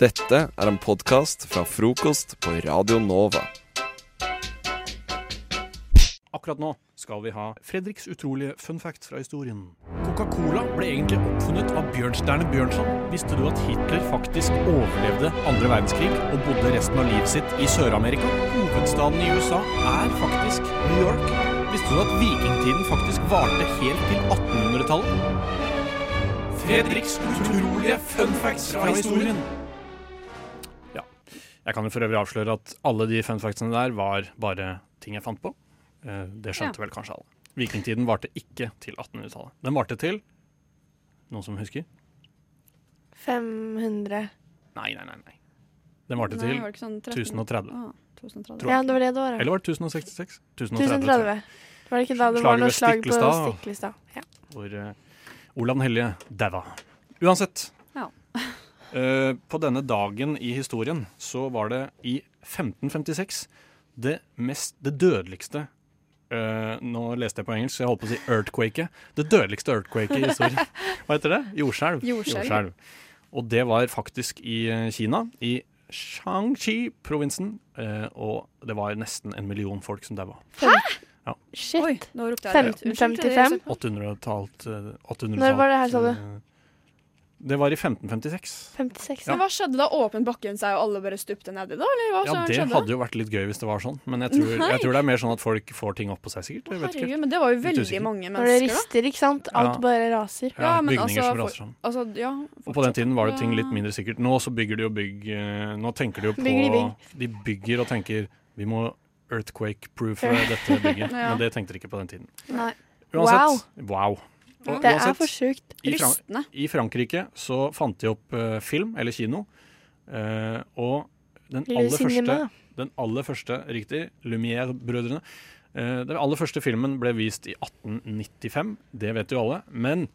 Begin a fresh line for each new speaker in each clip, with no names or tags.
Dette er en podkast fra frokost på Radio Nova.
Akkurat nå skal vi ha Fredriks utrolige fun fact fra historien. Coca-Cola ble egentlig oppfunnet av Bjørnstjerne Bjørnson. Visste du at Hitler faktisk overlevde andre verdenskrig og bodde resten av livet sitt i Sør-Amerika? Hovedstaden i USA er faktisk New York. Visste du at vikingtiden faktisk varte helt til 1800-tallet? Fredriks utrolige fun facts fra historien. Ja. Jeg kan jo for øvrig avsløre at alle de fun factsene der var bare ting jeg fant på. Eh, Det skjønte vel kanskje alle. Vikingtiden varte ikke til 1800-tallet. Den varte til Noen som husker?
500.
Nei, nei, nei. nei. Den varte
Nei,
til
var det ikke sånn 13?
1030.
Ah, 1030.
Tror jeg.
Ja, det var det det året.
Eller var det 1066? 1030, tror jeg.
1030. Var det ikke da det
Slaget
var noe
ved
slag på
Stiklestad.
Stiklestad? Ja.
hvor eh, Olav den hellige daua. Uansett.
Ja.
eh, på denne dagen i historien så var det i 1556 det mest Det dødeligste eh, Nå leste jeg på engelsk, så jeg holdt på å si earthquake. Det dødeligste earthquake i historien. Hva heter det? Jordskjelv.
Jordskjelv.
Og det var faktisk i eh, Kina. I Shangxi-provinsen. eh, og det var nesten en million folk som daua.
Shit.
Oi, nå ropte jeg
Fem-
høyt.
55?
Unnskyld,
800-tallet. eh, 800-tallet,
Når var det her, sa du?
eh, Det var i 1556.
56.
Men Hva skjedde da? Åpnet bakken seg, og alle bare stupte nedi da? Eller hva
Ja,
som
Det
skjedde?
hadde jo vært litt gøy hvis det var sånn, men jeg tror,
Nei.
jeg tror det er mer sånn at folk får ting opp på seg, sikkert. Jeg vet ikke.
Herregud, men det var jo
Litt
veldig
usikker.
Når
mange
det
mennesker, da.
rister, ikke sant? Alt
Ja.
bare raser.
Ja,
Ja, men
bygninger
altså,
som
for-
raser sammen.
Altså, ja,
Og på den tiden var det ting litt
Ja.
mindre sikkert. Nå så bygger de jo bygg eh, Nå tenker de jo på
Bygger de bygg?
De bygger og tenker Vi må earthquake-proofe dette bygget.
Ja.
Men det tenkte de ikke på den tiden.
Nei.
Uansett, wow. Og
Det er
uansett,
for sjukt.
i Fran-
Rystende.
I Frankrike så fant de opp eh, film, eller kino, eh, og den
Eller
aller, første,
cinema.
den aller første, riktig, Lumière-brødrene, eh, den aller første filmen ble vist i 1895, det vet jo alle, men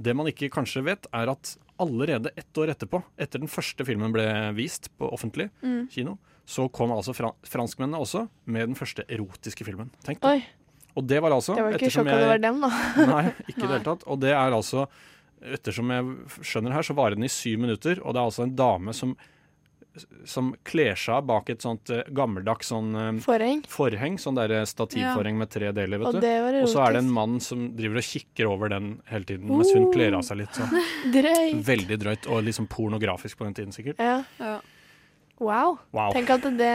det man ikke kanskje vet er at allerede ett år etterpå, etter den første filmen ble vist på offentlig
Mm.
kino, så kom altså fran franskmennene også med den første erotiske filmen. Tenk det.
Oi,
Og det var altså
jeg var ikke
ettersom
sjokka
jeg-
det var dem, da.
Nei, ikke i det
Nei.
hele tatt. Og det er altså, ettersom jeg f- skjønner her, så varer den i syv minutter, og det er altså en dame som, som kler seg av bak et sånt eh, gammeldags sånn eh,
Forheng.
forheng, sånn der eh, stativforheng med tre deler,
Og
vet du.
det var
Og så er det en
erotisk.
mann som driver og kikker over den hele tiden, mens
Oh.
hun kler av seg litt sånn.
Drøy.
Veldig drøyt, og liksom pornografisk på den tiden sikkert.
Ja.
Ja.
Wow.
Wow,
Tenk at det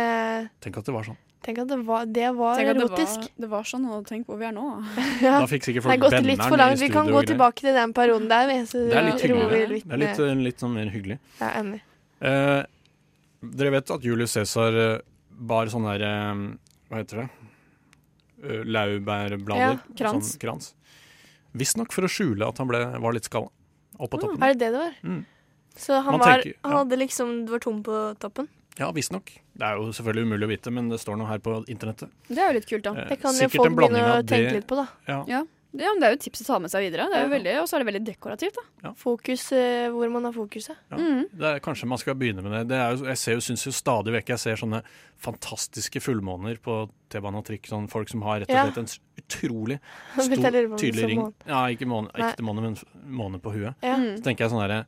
tenk at det var sånn.
Eh, Tenk at det var, det var
Tenk at det
erotisk.
var, det var sånn, og tenk hvor vi er nå.
Ja.
Da fikk
Det
sikkert
har
folk
gått litt for
benneren i
langt. Vi kan
studio
gå
og greier.
tilbake til den perioden der. Vi, så
Det er litt
roer vi
hyggeligere.
litt
Det er litt,
ned.
eh, litt sånn mer hyggelig.
Ja, enig.
Eh, dere vet at Julius Cæsar eh, bar sånn der eh, Hva heter det? Eh, Laurbærblader.
Ja, krans.
Sånn krans. Visstnok for å skjule at han ble, var litt skalla. Opp på toppen.
Mm, Er det det det var?
Mm.
Så han,
Man
var,
tenker-
han
ja.
hadde liksom Det var tom på toppen?
Ja, visstnok. Det er jo selvfølgelig umulig å vite, men det står noe her på internettet.
Det er jo litt kult, da.
Eh,
Det kan jo
sikkert en
folk begynne
blanding
å
av det-
tenke litt på, da.
Ja,
Ja, men Det er jo et tips å ta med seg videre. Det er jo
Ja.
veldig, Og så er det veldig dekorativt. da.
Fokus eh, hvor man har fokuset.
ja.
Mm.
Det er, kanskje man skal begynne med det. det er jo, jeg ser jo, synes jo stadig vekk jeg ser sånne fantastiske fullmåner på T-bane og trikk. Sånn folk som har rett og
Ja.
slett en s- utrolig
Vet jeg lurer på
stor,
om
tydelig
som
ring.
måne.
Ja, ikke måne,
Nei.
ekte måne, men f- måne på huet.
Ja.
Mm.
Så tenker jeg sånn derre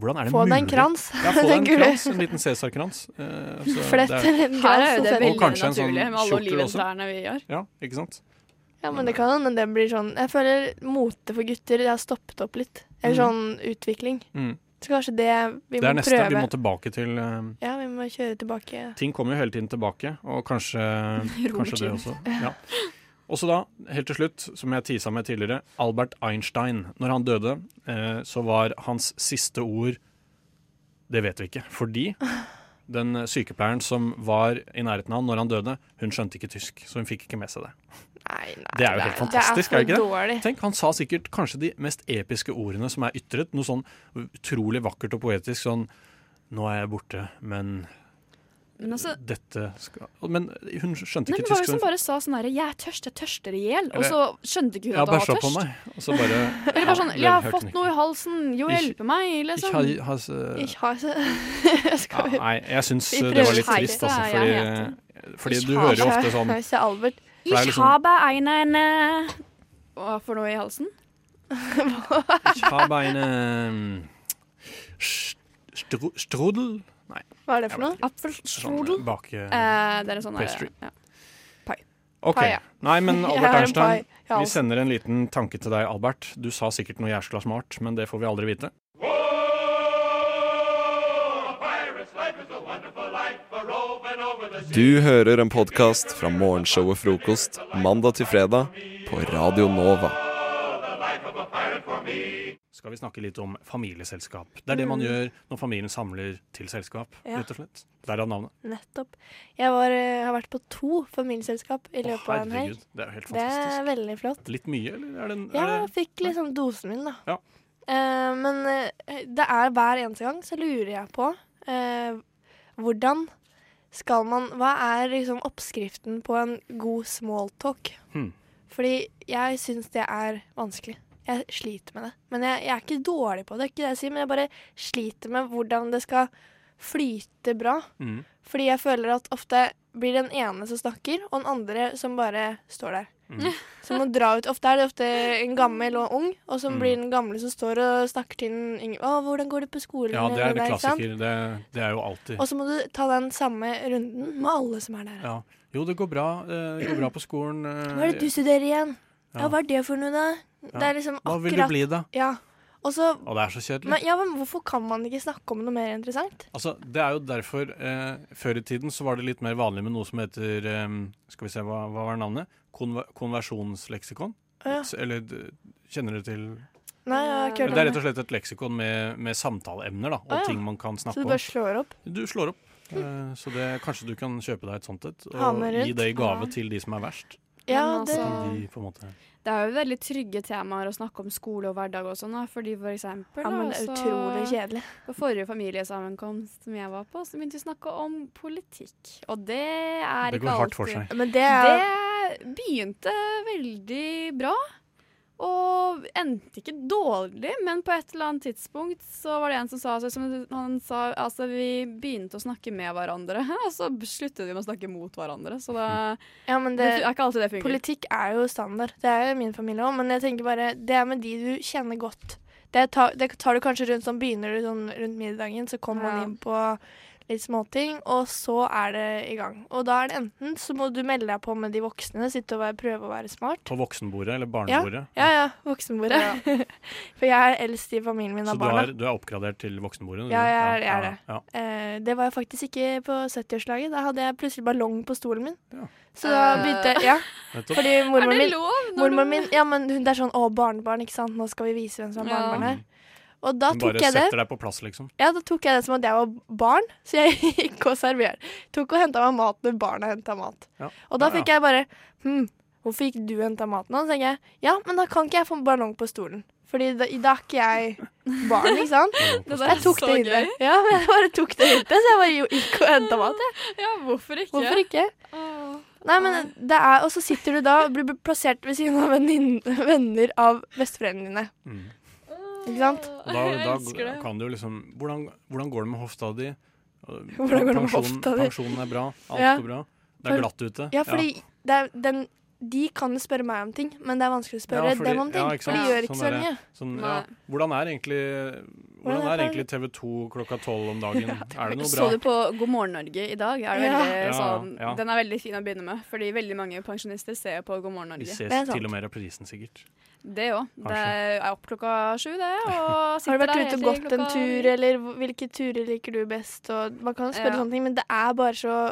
Hvordan er det
Få
mulig?
deg en krans.
Ja, få deg en
tenker du.
krans. En liten Cæsar-krans. Eh, så
Flett
det er-
eller en krans.
Her er jo
og
det
send-
Og
veldig
kanskje en
naturlig
sånn
med alle
kjortel også.
oliventrærne vi gjør.
Ja, ikke sant?
Ja, men det kan hende det blir sånn Jeg føler mote for gutter det har stoppet opp litt. Eller
Mm.
Mhm.
sånn utvikling.
Mm.
Så kanskje det vi
Det er
må
neste. Vi
prøve.
må tilbake til eh,
Ja, vi må kjøre tilbake.
Ting kommer jo hele tiden tilbake, og kanskje, kanskje det
Romertiden.
også. Ja. Og så da, helt til slutt, som jeg tisa med tidligere, Albert Einstein. Når han døde, eh, så var hans siste ord Det vet vi ikke. Fordi den sykepleieren som var i nærheten av han når han dødde, hun skjønte ikke tysk, så hun fikk ikke med seg det.
Nei, nei.
Det er jo helt fantastisk, er det
det
ikke det?
for dårlig.
Tenk, Han sa sikkert kanskje de mest episke ordene som er ytret. Noe sånn utrolig vakkert og poetisk sånn Nå er jeg borte, men
Men altså,
dette skal Men hun skjønte
nei,
ikke
men det var
tysk.
jo
så
som
hun-
bare sa sånn herre 'jeg er tørst, jeg tørster i hjel', og
Eller-
så skjønte ikke hun
Ja,
at han
bæsja
var
på
tørst.
meg. Og så bare
Eller bare sånn
ja,
'jeg har
ble
fått
høyknikk.
noe i halsen, jo
Ikke-
hjelpe meg',
Ikke
liksom.
sånn-
ha- ha s-
Ikke ha så
ja,
Skal vi
Nei, jeg syns
Vi
det var
prøver
litt
her.
trist,
Ja,
altså.
ja,
Fordi, fordi du hører jo ofte sånn
Nei, se Albert.
det er
Ich
liksom-
habe eine Hva for noe i halsen?
Ich habe eine Strudel
Hva er det for noe?
sånn,
Apfelstrudel.
Bake...
Eh, det er en sånn der-
Pastry.
Ja.
OK.
pai, ja.
Nei, men
Jeg
Albert
har en
Einstein,
pai altså. i
vi
halsen.
sender en liten tanke til deg, Albert. Du sa sikkert noe jæskla smart, men det får vi aldri vite.
Du hører en podkast fra morgenshowet Frokost mandag til fredag på Radio Nova.
Skal vi snakke litt om familieselskap. Det er det man gjør når familien samler til selskap,
Mm. Ja.
rett og slett. Derav navnet.
Nettopp. Jeg var, eh, har vært på to familieselskap i
Å,
løpet av en helg.
herregud, det er jo helt
Det er
fantastisk.
veldig flott.
Litt mye, eller er det, en- er
Jeg
det
fikk liksom dosen min, da.
Ja.
Eh, men eh, det er hver eneste gang så lurer jeg på eh, hvordan skal man Hva er liksom oppskriften på en god smalltalk?
Hmm.
Fordi jeg syns det er vanskelig. Jeg sliter med det. Men jeg, jeg er ikke dårlig på det, ikke det jeg sier, men jeg bare sliter med hvordan det skal flyte bra.
Mm.
Fordi jeg føler at ofte blir den ene som snakker, og den andre som bare står der.
Mm.
Som må dra ut. Ofte er det ofte en gammel og ung, og så
Mm.
blir den gamle som står og snakker til den yngre. 'Å, hvordan går det på skolen?'
Ja, det er
eller
en
der, ikke sant?
klassiker. Det, det er jo alltid
Og så må du ta den samme runden med alle som er der.
ja. Jo, det går bra. eh, Det går bra på skolen. eh,
Hva er det du studerer igjen? Ja,
Ja.
hva er det for noe, da? Det er liksom
Hva vil du
akkurat
bli, da?
Ja. Og så
Å, det er så kjedelig.
men, ja, men hvorfor kan man ikke snakke om noe mer interessant?
Altså, det er jo derfor eh, Før i tiden så var det litt mer vanlig med noe som heter eh, Skal vi se, hva, hva var navnet? Konver konversjonsleksikon?
Å, ja.
S- Eller d- kjenner du til
Nei, jeg har ikke
Det
hørt
er
om
rett
det.
og slett et leksikon med, med samtaleemner, da. Og
Å, ja.
ting man kan
Så
snakke
du
om.
bare slår opp? Hm.
Du slår opp. eh, Så det, kanskje du kan kjøpe deg et sånt et,
Ha
og
med
gi
rundt.
det i gave
Ja.
til de som er verst.
Ja,
Men
det
Så
altså-
kan de på en måte
Det er jo veldig trygge temaer å snakke om skole og hverdag og sånn, da. Fordi for eksempel
Ja, men det
da,
er
så-
utrolig kjedelig.
På forrige familiesammenkomst som jeg var på, så begynte vi å snakke om politikk. Og det er
Det
ikke
går hardt
alltid
for seg.
Men det er
Det begynte veldig bra, og endte ikke dårlig, men på et eller annet tidspunkt så var det en som sa altså, som han sa, altså vi begynte å snakke med hverandre, og så sluttet vi med å snakke mot hverandre. Så det,
Ja, men
det
det
er ikke alltid det fungerer.
Politikk er jo standard. Det er jo min familie òg, men jeg tenker bare Det er med de du kjenner godt. Det tar, det tar du kanskje rundt sånn Begynner du sånn rundt middagen, så kommer
Ja.
man inn på litt småting, og så er det i gang. Og da er det enten så må du melde deg på med de voksne, sitte og være, prøve å være smart.
På voksenbordet eller barnebordet.
Ja ja, voksenbordet. For jeg er eldst i familien min
Så
av
du
barna.
er, du er oppgradert til voksenbordet? du?
Ja, jeg er- jeg er
ja,
det.
Ja.
Eh, det var jeg faktisk ikke på 70-årslaget. Da hadde jeg plutselig ballong på stolen min.
Ja.
Så da
Eh.
begynte jeg Ja,
Nettopp.
fordi mormoren
er det
min
lov? når
Mormoren
du-
min ja, men hun, det er sånn 'Å, barnebarn, ikke sant? Nå skal vi vise hvem som er
Ja.
barnebarn her'. Og da
Mm. Hun
tok,
bare
jeg det,
setter deg på plass, liksom.
ja, da tok jeg det som at jeg var barn, så jeg gikk og serverte. Tok og henta meg mat når barna henta mat.
Ja.
Og da
Ja,
fikk jeg bare Hm, hvorfor gikk du og henta maten? Og så tenker jeg ja, men da kan ikke jeg få ballong på stolen. Fordi da, da er ikke jeg barn, ikke sant?
Det der
Jeg
er
tok
så
det
gøy.
hintet. Ja, men jeg bare tok det hintet, så jeg bare jo- gikk og henta mat. jeg.
Ja, hvorfor ikke?
Hvorfor ikke?
Åh.
Nei, men det er, Og så sitter du da og blir plassert ved siden av vennin- venner av besteforeldrene dine.
Mm.
Ikke sant?
Og Da,
Jeg
da
elsker det.
kan du jo liksom hvordan, hvordan går det med hofta di?
Hvordan går det med
Pensjonen-
hofta di?
Pensjonen er bra. Alt
Ja.
går bra. Det er
For-
glatt ute.
Ja, fordi Det er, den, de kan jo spørre meg om ting, men det er vanskelig å spørre
Ja, fordi-
dem om ting.
ja, ikke
for de
sant?
gjør ikke
Sånn
så
er det.
mye.
Sånn, ja.
Nei.
Hvordan er egentlig Hvordan
er
er
det-
egentlig TV 2 klokka tolv om dagen? Er det noe
Så
bra?
du på God morgen Norge i dag? Er det
Ja.
veldig,
Ja,
sånn,
ja.
Den er veldig fin å begynne med, fordi veldig mange pensjonister ser på God morgen
Vi
Norge.
ses
Det er sant.
til og med i reprisen, sikkert.
Det òg. Det
Kanskje.
er opp klokka sju, det. Og
Har
sitter
du vært
der
ute og
helt til
gått en
klokka-
tur, eller hvor- hvilke turer liker du best? Og man kan jo spørre
Ja.
sånne ting, men det er bare så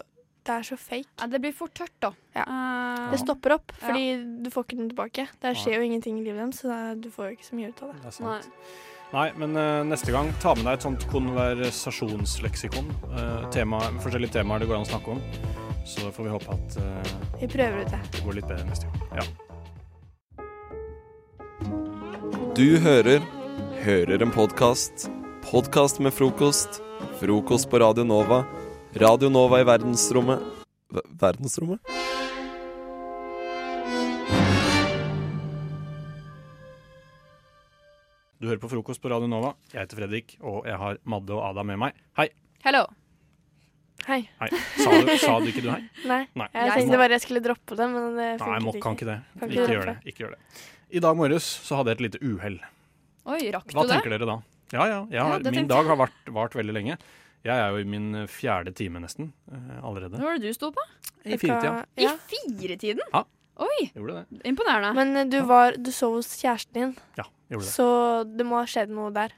Det er så fake.
Ja, det blir fort tørt, da.
Ja.
Eh,
Det stopper opp,
Ja.
fordi du får ikke noe tilbake. Det skjer jo ingenting i livet deres, så da- du får jo ikke så mye ut av det.
Det er
Nei.
sant. Nei, men eh, neste gang ta med deg et sånt konversasjonsleksikon. eh, tema, forskjellige temaer det går an å snakke om. Så får vi håpe at eh,
Vi prøver ut det.
det går litt bedre neste gang. Ja.
Du hører Hører en podkast. Podkast med frokost. Frokost på Radio Nova. Radio Nova i verdensrommet Ver- Verdensrommet?
Du hører på frokost på Radio Nova. Jeg heter Fredrik, og jeg har Madde og Ada med meg. Hei.
Hello.
Hei.
hei. Sa, du, sa du ikke du hei?
Nei.
Nei.
Jeg
Jeg-
tenkte bare jeg skulle droppe det, men det
Nei, må,
funket
kan
ikke.
ikke det.
Kan ikke
Ikke
det.
gjør det. Ikke gjør det. I dag morges så hadde jeg et lite uhell.
Oi, rakk
Hva
du det?
tenker dere da? Ja, ja. Jeg har,
Ja, det
min
tenkte
dag har vart, vart veldig lenge. Jeg er jo i min fjerde time nesten eh,
Hva
allerede.
var det du sto på?
I firetida.
I
Ja.
firetiden?
Ja.
Oi,
Gjorde det.
imponerende.
Men eh, du, var, du sov hos kjæresten din,
Ja, gjorde det.
så det må ha skjedd noe der.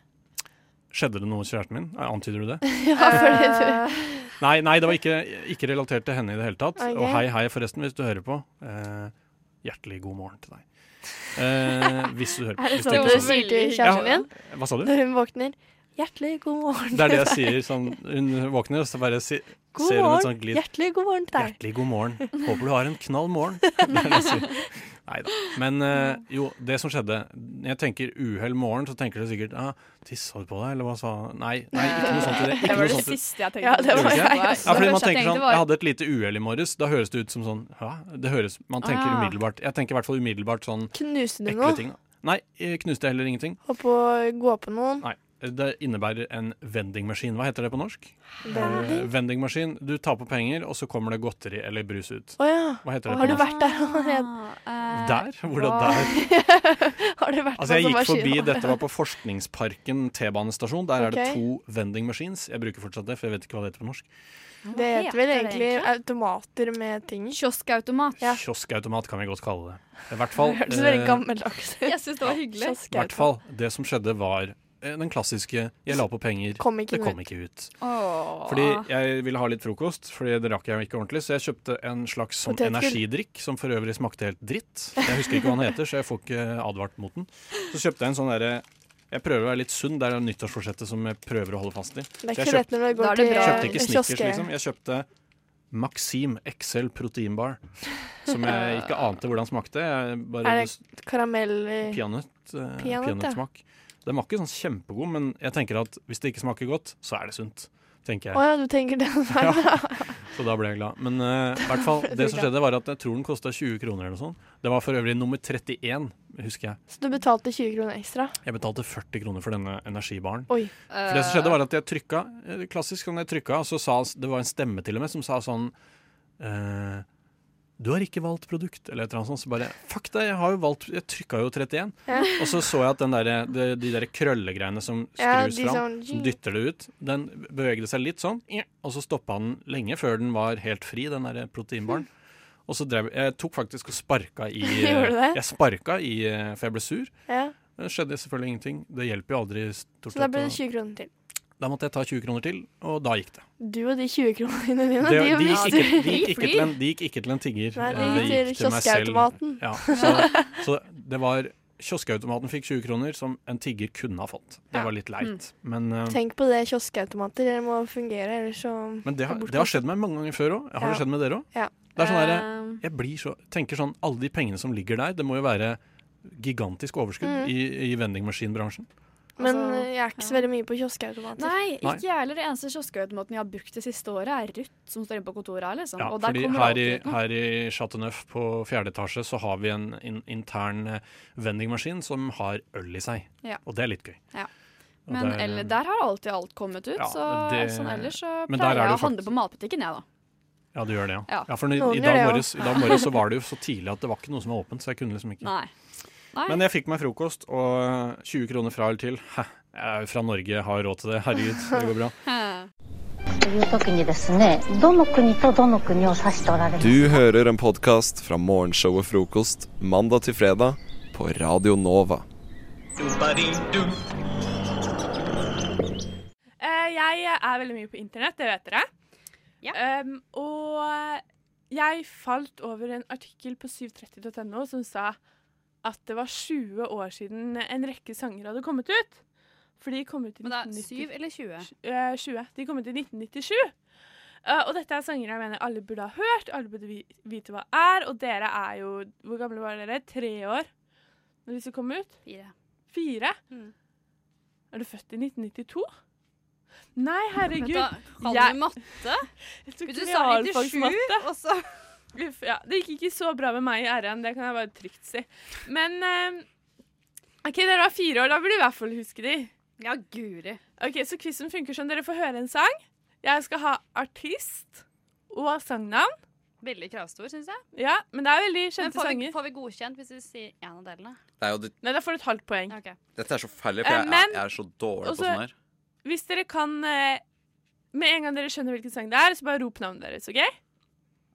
Skjedde det noe hos kjæresten min? Eh, Antyder du det?
Ja, fordi du
Eh,
Nei, nei, det var ikke, ikke relatert til henne i det hele tatt.
Ok.
Og hei, hei, forresten, hvis du hører på. Eh, hjertelig god morgen til deg. Eh, hvis du hører på.
Er det
hvis du
sånn
ikke
du
ikke
så-
sier til
Ja.
kjæresten din
sånn- Hva sa du?
når hun våkner? 'Hjertelig god morgen'.
Det er det jeg sier. Sånn, hun våkner, og så bare si,
God
ser hun et
morgen.
sånt glid.
Hjertelig god morgen til deg.
Hjertelig god morgen. Håper du har en knall morgen. Det er det jeg sier. Neida. Men eh, jo, det som skjedde Når jeg tenker uhell morgen, så tenker du sikkert ah, 'Tissa du på deg?' Eller hva sa Nei, nei, ikke noe sånt i det. Ikke
Det
noe
var det
sånt i det.
siste jeg tenkte.
Ja, det
var
på.
jeg
også.
Ja,
Det første jeg
fordi man tenker sånn,
tenkte var-
Jeg hadde et lite uhell i morges. Da høres det ut som sånn Hæ? Det høres, Man tenker
Ah.
umiddelbart Jeg tenker i hvert fall umiddelbart sånn
Knuste du
ekle
noe?
ting. da. Nei, jeg knuste heller ingenting.
Holdt på å gå på noen?
Nei, Det innebærer en vendingmaskin. Hva heter det på norsk? Eh,
Vending?
vendingmaskin. Du tar på penger, og så kommer det godteri eller brus ut.
Å ja.
Hva heter det
Har
på
du
norsk?
vært der allerede?
Ah, eh,
Der? Hvordan
hva-
der?
Har du vært
Altså Jeg
på
gikk
sånn
forbi,
maskin?
dette var på Forskningsparken T-banestasjon. Der er det
Ok.
to vending machines. Jeg bruker fortsatt det, for jeg vet ikke hva det heter på norsk.
Hva
Det heter vel egentlig
det
automater med ting.
egentlig? Kioskautomat.
Ja.
Kioskautomat kan vi godt kalle det. I hvert fall
Hørtes
eh,
veldig gammeldags ut.
Jeg syns det var hyggelig.
Kiosk-
I hvert fall, det som skjedde var eh, den klassiske 'jeg la på penger',
Kom
det
ikke
kom
noe.
ikke ut.
Åh.
Fordi jeg ville ha litt frokost, Fordi det rakk jeg jo ikke ordentlig, så jeg kjøpte en slags sånn
Potetgull.
energidrikk, som for øvrig smakte helt dritt. Jeg husker ikke hva den heter, så jeg får ikke advart mot den. Så kjøpte jeg en sånn derre Jeg prøver å være litt sunn, det er nyttårsforsettet som jeg prøver å holde fast i.
Det er ikke
Jeg
så lett når du
Da er
går
det
til
bra.
Kjøpte ikke Snickers,
kiosken.
liksom. Jeg kjøpte Maxim XL proteinbar, som jeg ikke ante hvordan smakte. Jeg bare
Er det Karamell eh,
Peanøtt, eh,
Peanøtt, ja.
peanøttsmak. Den var ikke sånn kjempegod, men jeg tenker at hvis det ikke smaker godt, så er det sunt. tenker
Å
jeg.
ja, du tenker den
Ja.
veien. Ja.
Så da ble jeg glad. Men eh, i hvert fall, det som skjedde, var at jeg tror den kosta 20 kroner eller noe sånt. Det var for øvrig nummer 31, husker jeg.
Så du betalte 20 kroner ekstra?
Jeg betalte 40 kroner for denne energibaren.
Eh,
Oi.
For det som skjedde, var at jeg trykka, eh, klassisk sånn jeg trykka, og så sa det var en stemme til og med som sa sånn eh, du har ikke valgt produkt, eller et eller annet sånt. Så bare fuck deg, jeg har jo valgt Jeg trykka jo 31.
Ja.
Og så så jeg at den derre- de, de der krøllegreiene som
Ja,
skrus
de sånn, mm.
fram,
som-
som dytter det ut, den bevegde seg litt sånn, og så stoppa den lenge før den var helt fri, den derre proteinbaren. Og så drev Jeg tok faktisk og sparka i
Gjorde du det?
Jeg sparka i eh, For jeg ble sur.
Ja.
Det skjedde selvfølgelig ingenting. Det hjelper jo aldri. stort
Så da
sett
ble
å-
det 20 kroner til.
da måtte jeg ta 20 kroner til, og da gikk det.
Du og de 20 kronene dine,
Det,
de,
de, gikk
visste du
ikke, de, gikk ikke
Fri.
til en, de gikk ikke til en tigger.
Nei, de
eh,
gikk til kioskautomaten.
Ja, så, så det var Kioskautomaten fikk 20 kroner, som en tigger kunne ha fått. Det
Ja. Mm.
var litt leit. Men, eh,
Tenk på det, kioskautomater. Det må fungere, ellers så
men det, har- det har skjedd meg mange ganger før òg. Har det
Ja.
skjedd med dere òg?
Ja. Um.
Det er sånn der, jeg blir så, tenker sånn, alle de pengene som ligger der, det må jo være gigantisk overskudd
Mm.
i, i vendingmaskinbransjen.
Men
Altså,
eh, jeg er ikke så veldig mye på kioskautomater.
Nei,
Nei.
ikke jeg heller. Det eneste kioskautomaten jeg har brukt det siste året, er Ruth, som står inne på kontoret her. liksom.
Ja,
og der
fordi
kommer
her
alltid
i,
ut noe.
her i Chateauneuf på fjerde etasje så har vi en in intern eh, vendingmaskin som har øl i seg.
Ja.
Og det er litt gøy.
Ja.
Og
Men
det er-
eller, der har alltid alt kommet ut.
Ja,
så
det-
sånn ellers så
Men der er
pleier jeg
det
å
jo
handle på matbutikken, jeg, da.
Ja, du gjør det, ja. ja.
Ja.
for i,
Noen
i,
gjør det,
dag
ja.
morges, I dag morges så var det jo så tidlig at det var ikke noe som var åpent, så jeg kunne liksom ikke
Nei. Nei.
Men jeg fikk meg frokost og eh, 20 kroner fra eller til. Hæ, jeg er jo fra Norge, har råd til det. Herregud, det går bra.
Hæ.
という時にですねどの国とどの国を指しておられますか
Du hører en podkast fra morgenshowet Frokost mandag til fredag på Radio Nova.
Eh, jeg er veldig mye på internett, det vet dere.
Ja.
Em, og jeg falt over en artikkel på 730.no som sa at det var 20 år siden en rekke sanger hadde kommet ut. For de kom ut i
Men det er
1990
syv eller 20?
eh, 20. De kom ut i 1997. Eh, og dette er sanger jeg mener alle burde ha hørt, alle burde vi- vite hva er. Og dere er jo Hvor gamle var dere? Tre år når disse kom ut?
Fire.
Fire?
Mm.
Er du født i 1992? Nei, herregud.
Vent da, Kan
jeg-
du matte?
Jeg tok
Du sa 97,
realfagsmatte.
og så
Uff, ja. Det gikk ikke så bra med meg i RN, det kan jeg bare trygt si. Men eh, OK, dere var fire år, da burde du i hvert fall huske de.
Ja, guri.
Ok, Så quizen funker sånn. Dere får høre en sang. Jeg skal ha artist og sangnavn.
Veldig kravstor, syns jeg.
Ja, men det er veldig
Men
kjente
får vi,
sanger.
får vi godkjent hvis vi sier en av delene?
Nei, da får du et halvt poeng.
Ok.
Dette er så fælt, for
Eh,
jeg,
men-
jeg er så dårlig
Og så-
på sånn her.
Hvis dere kan eh, Med en gang dere skjønner hvilken sang det er, så bare rop navnet deres, OK?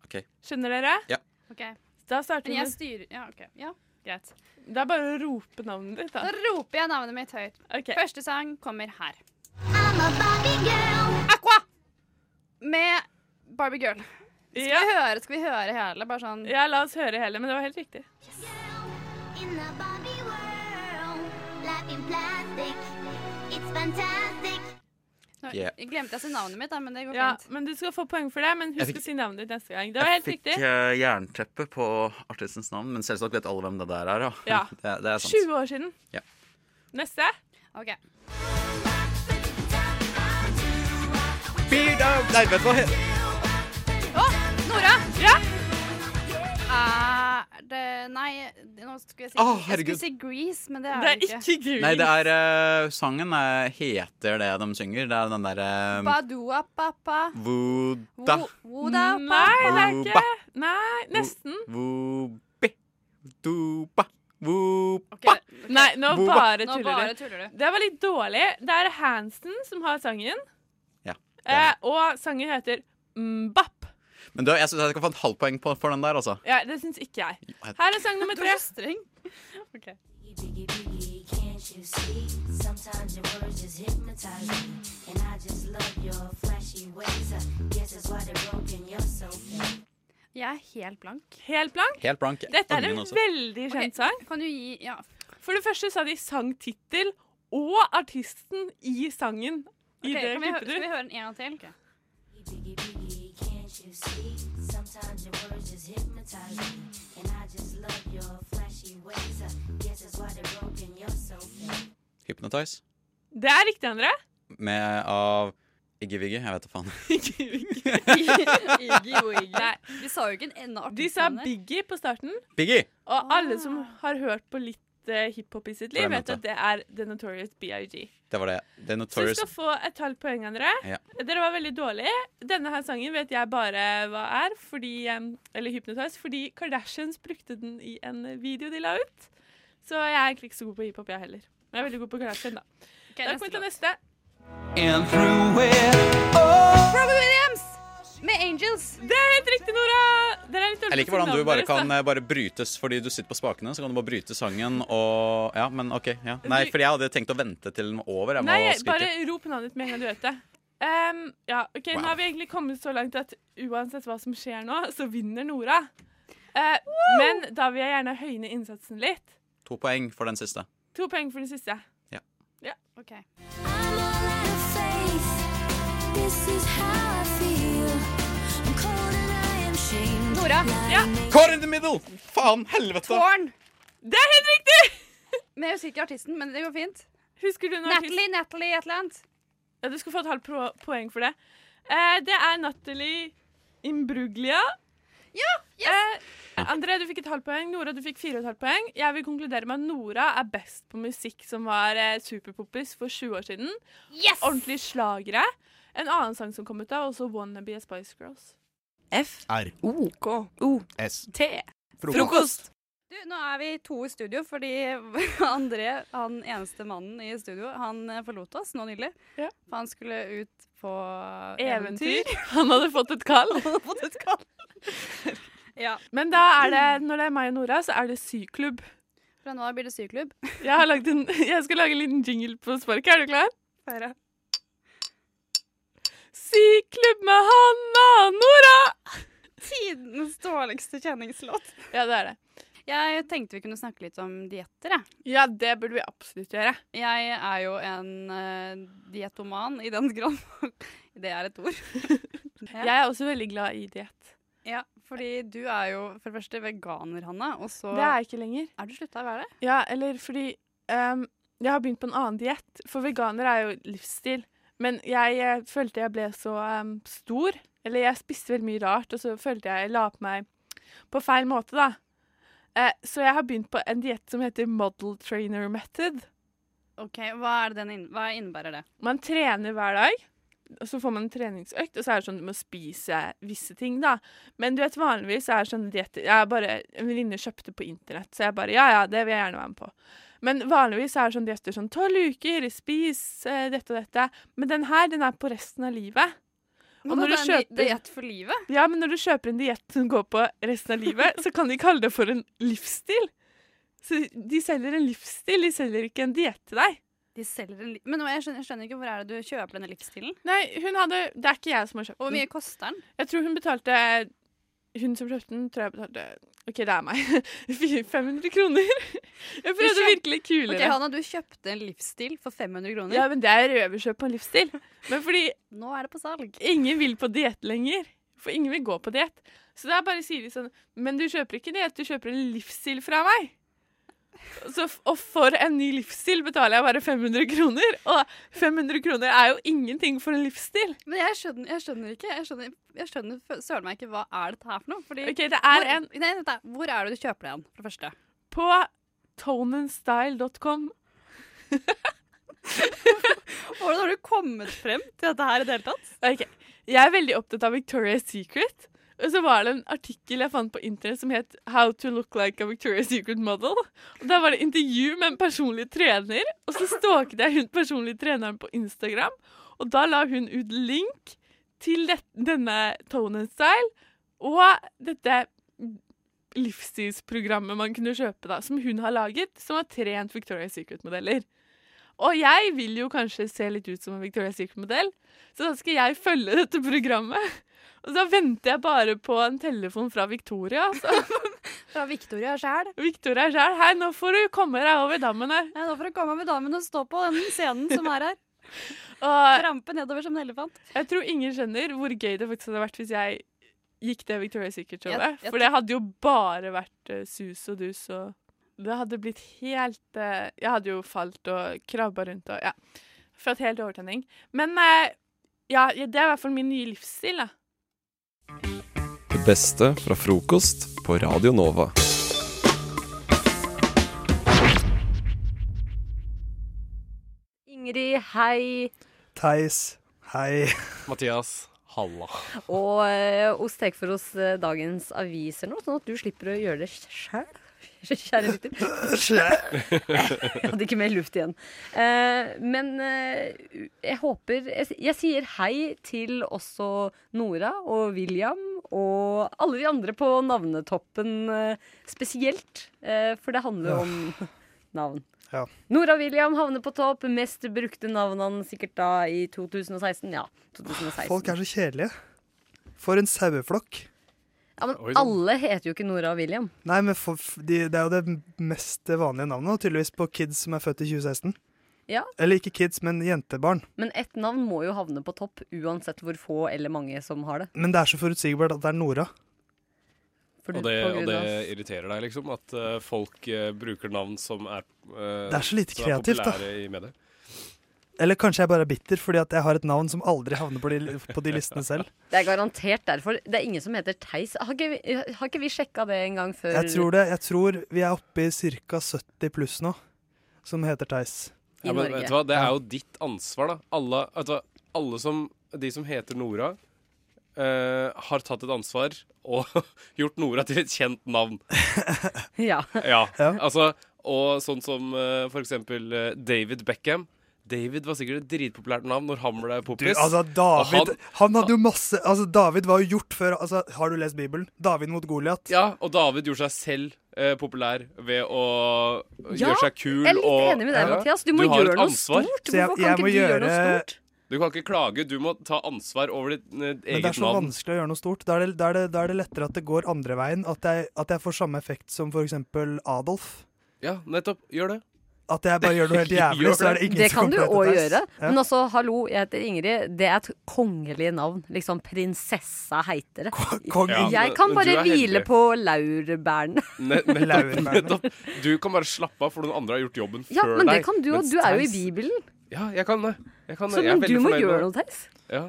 Ok.
Skjønner dere?
Ok,
Da starter
Men jeg
vi med
styrer Ja, ok. Ja, greit.
Det er bare å rope navnet ditt,
Da
da.
roper jeg navnet mitt høyt.
OK.
Første sang kommer her. Aqua! Med Barbie Girl. Skal,
Ja.
vi høre, skal vi høre hele? Bare sånn
ja, la oss høre hele, men det var helt riktig.
In the Barbie world, life in plastic, it's fantastic.
Nå
Yeah.
Glemte jeg å si navnet mitt, da, men det går
Ja,
fint.
men Du skal få poeng for det, men
Jeg
husk
fikk-
å si navnet ditt neste gang. Det var helt
jeg fikk
riktig.
eh, jernteppe på artistens navn, men selvsagt vet alle hvem det der er. Ja.
Ja.
Det, er- det er sant.
20 år siden.
Ja.
Neste.
Ok.
Beard out- Nei, vet du hva he-
Å, Nora! Ja! Er det Nei, nå skulle jeg si,
Å,
jeg
herregud.
skulle si Grease, men det er
Det
det
er
ikke.
ikke Guri.
Nei, det er eh, Sangen eh, heter det de synger. Det er den eh, derre
Badua papa.
Voda
Woda
Nei, det er
Voba.
ikke Nei, nesten.
Vobi Doba Voba
Ok, ok.
Nei, nå
Boba.
bare
Nå
tuller
bare
du.
tuller du.
Det var litt dårlig. Det er Hansen som har sangen,
Ja.
eh, og sangen heter Mbapp.
Men du, jeg syns jeg skal få et halvt poeng på, for den der, altså.
Ja, det syns ikke jeg. Her er sang nummer
Du
tre.
er så streng. Ok.
Biggie, biggie, can't you see? Sometimes your words just hypnotize me. And I just love your flashy ways. I guess that's why they're broken, you're so fake.
Jeg er helt blank.
Helt blank.
Helt blank.
Dette er
Ungen
en
også.
veldig kjent
Ok,
sang.
Kan du gi Ja.
For det første så har de sangtittel og artisten i sangen. I
Ok,
det
kan vi, hø-
klippet
skal vi
du.
høre den en gang til? Ok.
Biggie, biggie, can't you see? Sometimes your words just hypnotize me. And I just love your flashy ways. I guess that's why they're broken, you're so fake.
Hypnotize.
Det er riktig, André.
Med av Iggy Viggy. Jeg vet da faen.
Iggy og Iggy. Nei, de sa jo ikke en ende av
De sa
artistnavnet. Ah.
Biggie på starten,
Biggie!
og alle som har hørt på litt eh, hiphop i sitt liv,
På den
vet at det er The Notorious BIG.
Det var det. The
Så du
Notorious.
skal få et halvt poeng, André.
Ja.
Dere var veldig dårlige. Denne her sangen vet jeg bare hva er, fordi, em, eller Hypnotize, fordi Kardashians brukte den i en video de la ut. Så jeg er egentlig ikke så god på hiphop, jeg heller. Men jeg er veldig god på Kardashian, da.
Ok,
Da
neste
kommer vi til
låt.
neste.
And through it.
Robbie Williams med Angels.
Det er helt riktig, Nora! Dere er litt dårlige
Jeg liker
på
hvordan du bare
signalene
kan
deres,
eh, bare brytes fordi du sitter på spakene. Så kan du bare bryte sangen og Ja, men OK. Ja. Nei,
Du-
for jeg hadde tenkt å vente til den var over.
da.
Jeg må
Nei, bare
skrike.
rop navnet ditt med en gang du vet det. Em, ja, ok,
Wow.
Nå har vi egentlig kommet så langt at uansett hva som skjer nå, så vinner Nora. Eh, men da vil jeg gjerne høyne innsatsen litt.
To poeng for den siste.
To poeng for den siste.
Ok.
I'm all out of faith. This is how I feel. I'm cold and I am shamed.
Nora.
Ja.
Core in the middle! Faen, helvete!
Tårn
Det er helt riktig!
med jeg husker ikke artisten, men det går fint.
Husker du når
Natalie, Natalie et eller annet.
Ja, du skal få et halvt pro- poeng for det. Eh, det er Natalie Imbruglia. Ja! Eh, André, du fikk et halvt poeng. Nora, du fikk fire og et halvt poeng. Jeg vil konkludere med at Nora er best på musikk som var eh, superpoppis for 20 år siden.
Yes!
Ordentlig slagere. En annen sang som kom ut da, også 'Wanna Be a Spice Girls'.
F
R.
O
K.
O
S.
T
Frokost.
Du, nå er vi to i studio fordi André, han eneste mannen i studio, han eh, forlot oss nå nylig.
Ja.
For han skulle ut på
Eventyr. Han hadde fått et kall.
Ja.
Men da er det, når det er meg og Nora, så er det syklubb.
Fra nå av blir det syklubb.
Jeg, har lagd en, jeg skal lage en liten jingle på sparket. Er du klar? Syklubb med Hanna og Nora!
Tidens dårligste kjenningslåt.
Ja, det er det.
Jeg tenkte vi kunne snakke litt om dietter, jeg.
Ja, det burde vi absolutt gjøre.
Jeg er jo en uh, diettoman i den grad Det er et ord.
Jeg er også veldig glad i diett.
Ja, fordi du er jo for det første veganer, Hanna, og så
Det er jeg ikke lenger.
Er du slutta å være det?
Ja, eller fordi ehm, jeg har begynt på en annen diett. For veganer er jo livsstil. Men jeg eh, følte jeg ble så ehm, stor. Eller jeg spiste veldig mye rart, og så følte jeg jeg la på meg på feil måte, da. Eh, så jeg har begynt på en diett som heter Model Trainer Method.
OK, hva, er det den inn, hva innebærer det?
Man trener hver dag, og så får man en treningsøkt, og så er det sånn du må spise visse ting, da. Men du vet, vanligvis er sånne dietter Jeg er bare En venninne kjøpte på internett, så jeg bare Ja, ja, det vil jeg gjerne være med på. Men vanligvis er det sånn, sånne dietter sånn tolv uker, spis eh, dette og dette. Men den her, den er på resten av livet. Og når du kjøper,
Diett for livet?
ja, men når du kjøper en diett som går på resten av livet, så kan de kalle det for en livsstil. Så de selger en livsstil, de selger ikke en diett til deg.
De selger en li Men nå, jeg, skjønner, jeg skjønner ikke hvor er det du kjøper denne livsstilen?
Nei, hun hadde Det er ikke jeg som har kjøpt
Og hvor
den.
mye koster den?
Jeg tror hun betalte Hun som kjøpte den, tror jeg betalte OK, det er meg. 500 kroner. Jeg prøvde
kjøpt-
virkelig
Ok,
kulere.
Hanna, du kjøpte en livsstil for 500 kroner.
Ja, men det er røverkjøp på en livsstil. Men fordi
Nå er det på salg.
ingen vil på diett lenger. For ingen vil gå på diett. Så da bare sier de sånn Men du kjøper ikke diett, du kjøper en livsstil fra meg. Så, f- og for en ny livsstil betaler jeg bare 500 kroner. Og 500 kroner er jo ingenting for en livsstil.
Men jeg skjønner, jeg skjønner ikke. Jeg skjønner, jeg skjønner f- søren meg ikke hva er dette her for noe. Fordi
OK, det er
hvor,
en
nei, vent da. hvor er det du kjøper det igjen, for det første?
på tonenstyle.com.
Hvordan har du kommet frem til dette her i det hele tatt?
Ok, Jeg er veldig opptatt av Victoria's Secret. Og så var det en artikkel jeg fant på internett som het 'How to look like a Victoria's Secret model'. Og Der var det intervju med en personlig trener, og så stalket jeg hun personlige treneren på Instagram. Og da la hun ut link til det, denne Tone and Style og dette livsstilsprogrammet man kunne kjøpe, da, som hun har laget, som har trent Victoria's Secret-modeller. Og jeg vil jo kanskje se litt ut som en Victoria's Secret-modell, så da skal jeg følge dette programmet. Og så venter jeg bare på en telefon fra Victoria. Så
Fra Victoria sjæl.
Victoria sjøl, hei, nå får du komme deg over dammen her.
Ja, nå får du komme med damen og stå på den scenen som er her.
Og
Trampe nedover som en elefant.
jeg tror ingen skjønner hvor gøy det faktisk hadde vært hvis jeg gikk det Victoria
Jeg-
Secret-showet.
jeg-
For det hadde jo bare vært eh, sus og dus og Det hadde blitt helt eh, Jeg hadde jo falt og krabba rundt og ja. Fått helt overtenning. Men eh, ja, det er i hvert fall min nye livsstil, da.
Det beste fra frokost på Radio Nova.
Ingrid, hei.
Theis, hei.
Mathias, halla.
Og eh, oss tar for oss eh, dagens aviser nå, sånn at du slipper å gjøre det sjøl. Kjære lytter. Jeg hadde ikke mer luft igjen. Eh, men eh, jeg håper jeg, s- jeg sier hei til også Nora og William og alle de andre på navnetoppen eh, spesielt. eh, for det handler om navn.
Ja.
Nora og William havner på topp. Mest brukte navnene sikkert da i 2016. Ja, 2016.
Folk er så kjedelige. For en saueflokk.
Ja, men
Oi, sånn.
alle heter jo ikke Nora og William.
Nei, men for, f- de, det er jo det mest vanlige navnet, og tydeligvis på kids som er født i 2016.
Ja.
Eller ikke kids, men jentebarn.
Men ett navn må jo havne på topp, uansett hvor få eller mange som har det.
Men det er så forutsigbart at det er Nora.
For
Og
du-
det,
på
og
grunn
det
av-
irriterer deg, liksom? At eh, folk eh, bruker navn som er, eh,
Det er så lite
som er
kreativt, da.
populære i media?
Eller kanskje jeg bare er bitter fordi at jeg har et navn som aldri havner på de, på de listene selv.
det er garantert derfor. Det er ingen som heter Theis. Har ikke, vi- har ikke vi sjekka det en gang før?
Jeg tror, det, jeg tror vi er oppe i ca. 70 pluss nå, som heter Theis.
Ja,
I
men
Norge.
vet du hva, det er jo ditt ansvar, da. Alle, vet du hva, alle som De som heter Nora, eh, har tatt et ansvar og gjort Nora til et kjent navn.
Ja.
Ja,
Ja.
altså Og sånn som eh, for eksempel eh, David Beckham. David var sikkert et dritpopulært navn når han ble
Du,
poppis.
altså, David
Og
han, hadde jo masse Altså, David var jo gjort før altså, Har du lest Bibelen? David mot Goliat.
Ja, og David gjorde seg selv eh, populær ved å eh,
Ja,
gjøre seg kul
Jeg er litt
og
enig med deg,
Ja.
Mathias. Du må
har
gjøre
et
noe
ansvar.
stort.
Så jeg-
Hvorfor
jeg
kan
må
ikke du gjøre noe
gjøre-
stort?
Du kan ikke klage, du må ta ansvar over ditt eh,
Men det er
eget
så
navn.
vanskelig å gjøre noe stort. Da er det, da er det, da er det lettere at det går andre veien. At jeg, at jeg får samme effekt som for eksempel Adolf.
Ja, nettopp. Gjør det.
At jeg bare gjør noe helt jævlig,
Gjør
så er det
det.
ingen
Det
som
kan du
kommer til å
òg
hete
gjøre.
Theis. Ja.
Men altså, hallo, jeg heter Ingrid. Det er et kongelig navn. Liksom prinsessa heiter det.
Kong
Ja.
Inge.
Jeg kan
men du
bare
er heldig.
hvile på laurbærene.
Ne nettopp,
Laurbærene.
nettopp. Du kan bare slappe av, for noen andre har gjort jobben
Ja,
før
men
deg.
det kan du òg.
Mens
Du er jo i
Theis-
Bibelen.
Ja, jeg kan det. Jeg kan det.
Så
jeg er
men
veldig
du må
fornøyd med
gjøre
det.
noe, Theis.
Ja.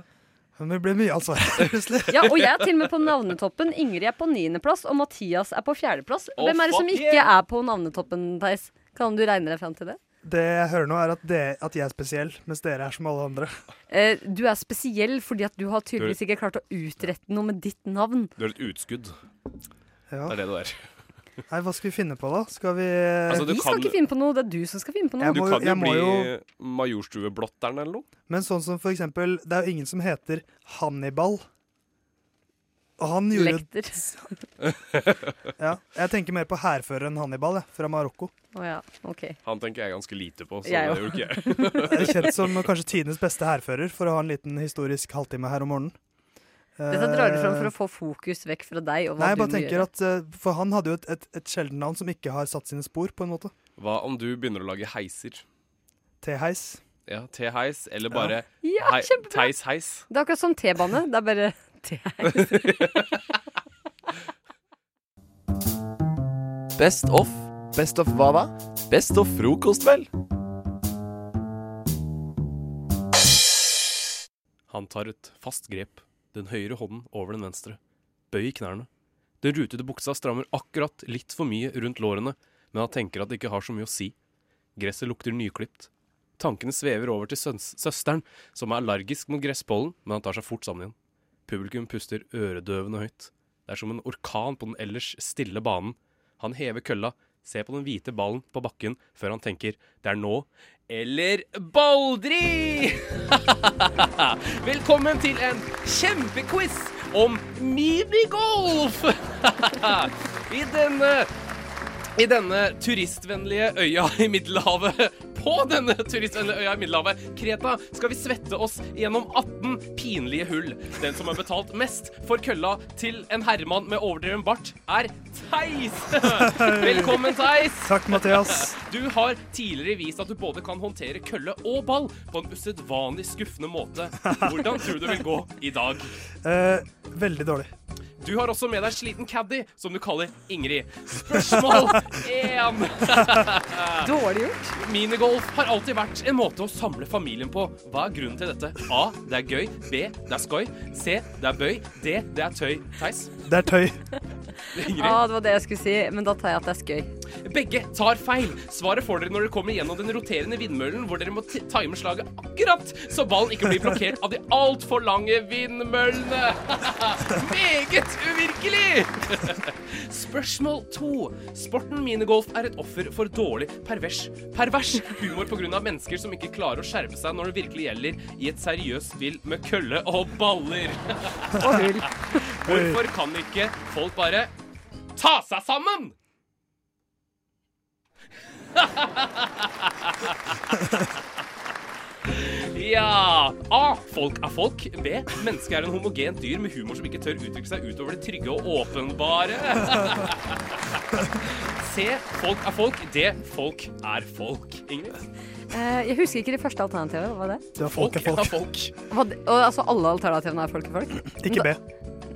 Men det blir mye ansvar her, plutselig.
Ja, og jeg er til og med på navnetoppen. Ingrid er på niendeplass, og Mathias er på fjerdeplass.
Å,
Hvem er det
fuck
som ikke er på navnetoppen, Theis? Kan du regne deg fram til det?
Det jeg hører nå, er at, det, at jeg er spesiell, mens dere er som alle andre.
Eh, du er spesiell fordi at du har tydeligvis ikke klart å utrette noe med ditt navn.
Du er et utskudd.
Ja.
Det er det du er.
Nei, hva skal vi finne på, da? Skal vi
Altså, du
Vi skal ikke finne på noe, det er du som skal finne på noe.
Jeg
Du
må jo-
kan jo
jeg må
bli
jo-
Majorstueblotteren eller noe.
Men sånn som for eksempel Det er jo ingen som heter Hannibal. Og han gjorde
Lekter.
Ja, jeg tenker mer på hærføreren Hannibal, jeg, fra Marokko.
Å ja, ok.
Han tenker jeg ganske lite på, så
Jeg
det
òg.
gjorde ikke jeg.
Jeg er kjent som kanskje tidenes beste hærfører, for å ha en liten historisk halvtime her om morgenen.
Dette drar du fram for å få fokus vekk fra deg og
Eh, Nei,
hva
jeg bare
du må
tenker
gjøre.
at eh, For han hadde jo et, et, et sjeldent navn som ikke har satt sine spor, på en måte.
Hva om du begynner å lage heiser?
T-heis.
Ja, T-heis, eller bare
Ja,
hei-
kjempebra.
Theis-heis.
Det er akkurat som T-bane. Det er bare T-heis.
Best of. Best of hva da? Best of frokost, vel?
Han tar et fast grep, den høyre hånden over den venstre. Bøy i knærne. Den rutete buksa strammer akkurat litt for mye rundt lårene, men han tenker at det ikke har så mye å si. Gresset lukter nyklipt. Tankene svever over til søns søsteren, som er allergisk mot gresspollen, men han tar seg fort sammen igjen. Publikum puster øredøvende høyt. Det er som en orkan på den ellers stille banen. Han hever kølla, ser på den hvite ballen på bakken, før han tenker det er nå eller baldri! Velkommen til en kjempequiz om minigolf! I denne i denne turistvennlige øya i Middelhavet, på denne turistvennlige øya i Middelhavet, Kreta, skal vi svette oss gjennom 18 pinlige hull. Den som har betalt mest for kølla til en herremann med overdreven bart, er Theis. Velkommen, Theis.
Takk, Mathias.
Du har tidligere vist at du både kan håndtere kølle og ball på en usedvanlig skuffende måte. Hvordan tror du det vil gå i dag?
Eh, veldig dårlig.
Du har også med deg en sliten caddy, som du kaller Ingrid. Spørsmål én.
Dårlig gjort.
Minigolf har alltid vært en måte å samle familien på. Hva er grunnen til dette? A. Det er gøy. B. Det er skøy. C. Det er bøy. D. Det er tøy. Theis.
Det er tøy.
Ingrid.
Ja, det var det jeg skulle si, men da tar jeg at det er skøy.
Begge tar feil. Svaret får dere når dere kommer gjennom den roterende vindmøllen, hvor dere må ti- time slaget akkurat så ballen ikke blir blokkert av de altfor lange vindmøllene. Meget uvirkelig! Spørsmål to. Sporten minigolf er et offer for dårlig, pervers, pervers humor pga. mennesker som ikke klarer å skjerpe seg når det virkelig gjelder i et seriøst spill med kølle og baller.
Og hull.
Hvorfor kan ikke folk bare ta seg sammen? Ja A. Folk er folk. B. Mennesket er en homogent dyr med humor som ikke tør uttrykke seg utover det trygge og åpenbare. C. Folk er folk. D. Folk er folk. Ingrid?
Eh, jeg husker ikke det første alternativet. Hva var det?
Det var folk er
Ja,
folk.
folk.
Hva det- og, altså alle alternativene er folk er folk?
Ikke B.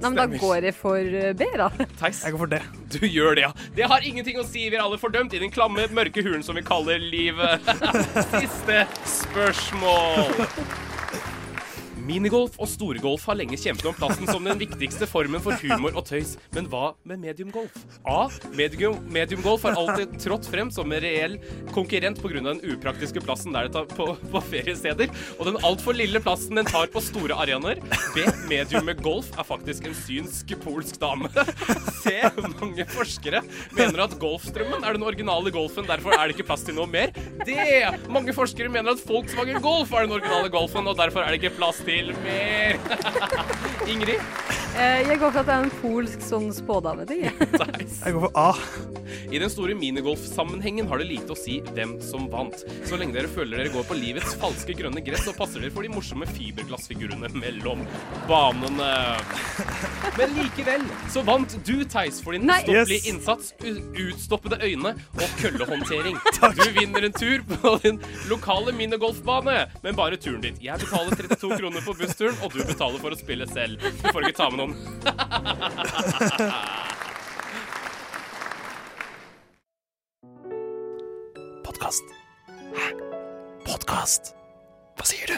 Nei, men da
Stemmer.
går jeg for eh, B, da.
Theis?
Jeg går for det.
Du gjør det, ja. Det har ingenting å si. Vi er alle fordømt i den klamme, mørke hulen som vi kaller livet. Siste spørsmål. Minigolf og storgolf har lenge kjempet om plassen som den viktigste formen for humor og tøys. Men hva med mediumgolf? A. Medium, mediumgolf har alltid trådt frem som en reell konkurrent pga. den upraktiske plassen der det tar på, på feriesteder, og den altfor lille plassen den tar på store arenaer. B. Medium med golf er faktisk en synsk polsk dame. C. Mange forskere mener at golfstrømmen er den originale golfen, derfor er det ikke plass til noe mer. D. Mange forskere mener at Volkswagen Golf er den originale golfen, og derfor er det ikke plass til mer. Ingrid?
Eh, jeg går for at det er en polsk sånn spådameting. jeg.
Jeg går for A.
I den store minigolfsammenhengen har det lite å si hvem som vant. Så lenge dere føler dere går på livets falske grønne gress, så passer dere for de morsomme fiberglassfigurene mellom banene. Men likevel så vant du, Theis, for din
Nei.
ustoppelig
Yes.
innsats, u- utstoppede øyne og køllehåndtering. Du vinner en tur på din lokale minigolfbane, men bare turen dit. Jeg betaler 32 kroner for bussturen, og du betaler for å spille selv. Du får ikke ta med noen.
Podkast. Hæ? Podkast? Hva sier du?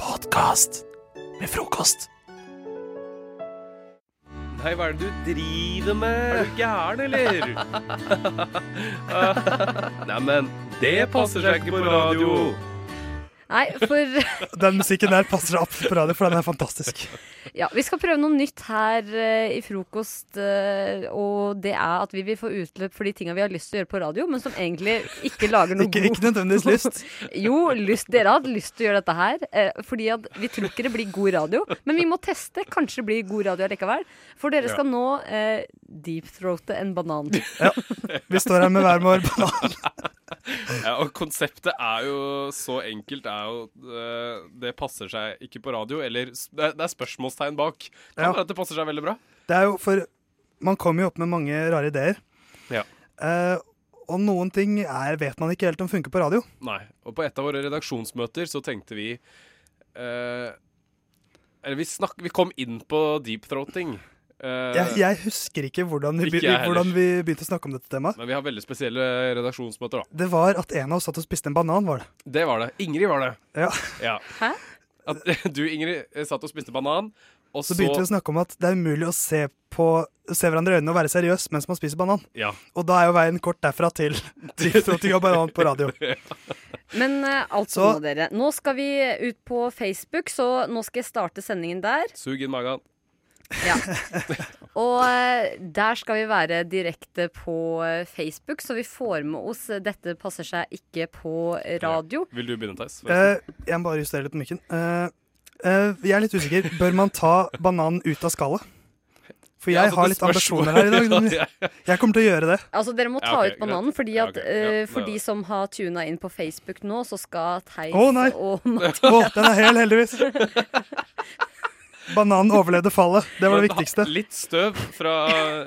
Podkast med frokost.
Nei, hva er det du driver med? Er du gæren, eller? Neimen, det passer seg ikke på radio.
Nei, for
Den musikken der passer absolutt på radio, for den er fantastisk.
Ja, Vi skal prøve noe nytt her eh, i frokost. eh, og det er at vi vil få utløp for de tinga vi har lyst til å gjøre på radio, men som egentlig ikke lager noe
Ikke, ikke nødvendigvis lyst.
jo, lyst, dere hadde lyst til å gjøre dette her. Eh, fordi at vi tror ikke det blir god radio. Men vi må teste. Kanskje det blir god radio likevel. For dere
Ja.
skal nå eh, deepthroate en banan.
Vi står her med hver vår banan.
Ja, og konseptet er jo så enkelt er jo, eh, Det passer seg ikke på radio. Eller s- det er, det er spørsmålstegn bak. Kan
Ja.
være at det passer seg veldig bra.
Det er jo for Man kommer jo opp med mange rare ideer.
Ja.
Eh, og noen ting er, vet man ikke helt om funker på radio.
Nei. Og på et av våre redaksjonsmøter så tenkte vi eh, Eller vi, snakk, vi kom inn på deepthroating. Eh,
Jeg, jeg husker ikke hvordan vi,
Ikke
begy-
jeg heller.
hvordan vi begynte å snakke om dette temaet.
Men vi har veldig spesielle redaksjonsmøter, da.
Det var at en av oss satt og spiste en banan, var det.
Det var det. Ingrid var det.
Ja.
Hæ? At, du, Ingrid, eh, satt og spiste banan, og
Så
så,
begynte vi å snakke om at det er umulig å se, på, se hverandre i øynene og være seriøs mens man spiser banan.
Ja.
Og da er jo veien kort derfra til til frotting av banan på radio.
Men eh, altså
Så-
nå, dere. Nå skal vi ut på Facebook, så nå skal jeg starte sendingen der.
Sug inn magen.
Og eh, der skal vi være direkte på eh, Facebook, så vi får med oss eh, 'Dette passer seg ikke på radio'.
Vil du begynne, Theis?
Eh, jeg må bare justere litt på mikken. Eh, eh, jeg er litt usikker. Bør man ta bananen ut av skallet? For
Ja,
jeg
altså,
har
det
litt ambisjoner her i dag.
spørs-
Jeg kommer til å gjøre det.
Altså, Dere må ta
Ja, ok,
ut bananen,
greit.
fordi
Ja,
at,
ok, ja,
eh,
det er
for de
det.
som har tuna inn på Facebook nå, så skal Theis
Å, nei.
og
Å, den er hel, heldigvis. Bananen overlevde fallet. Det var det
Men
viktigste.
Litt støv fra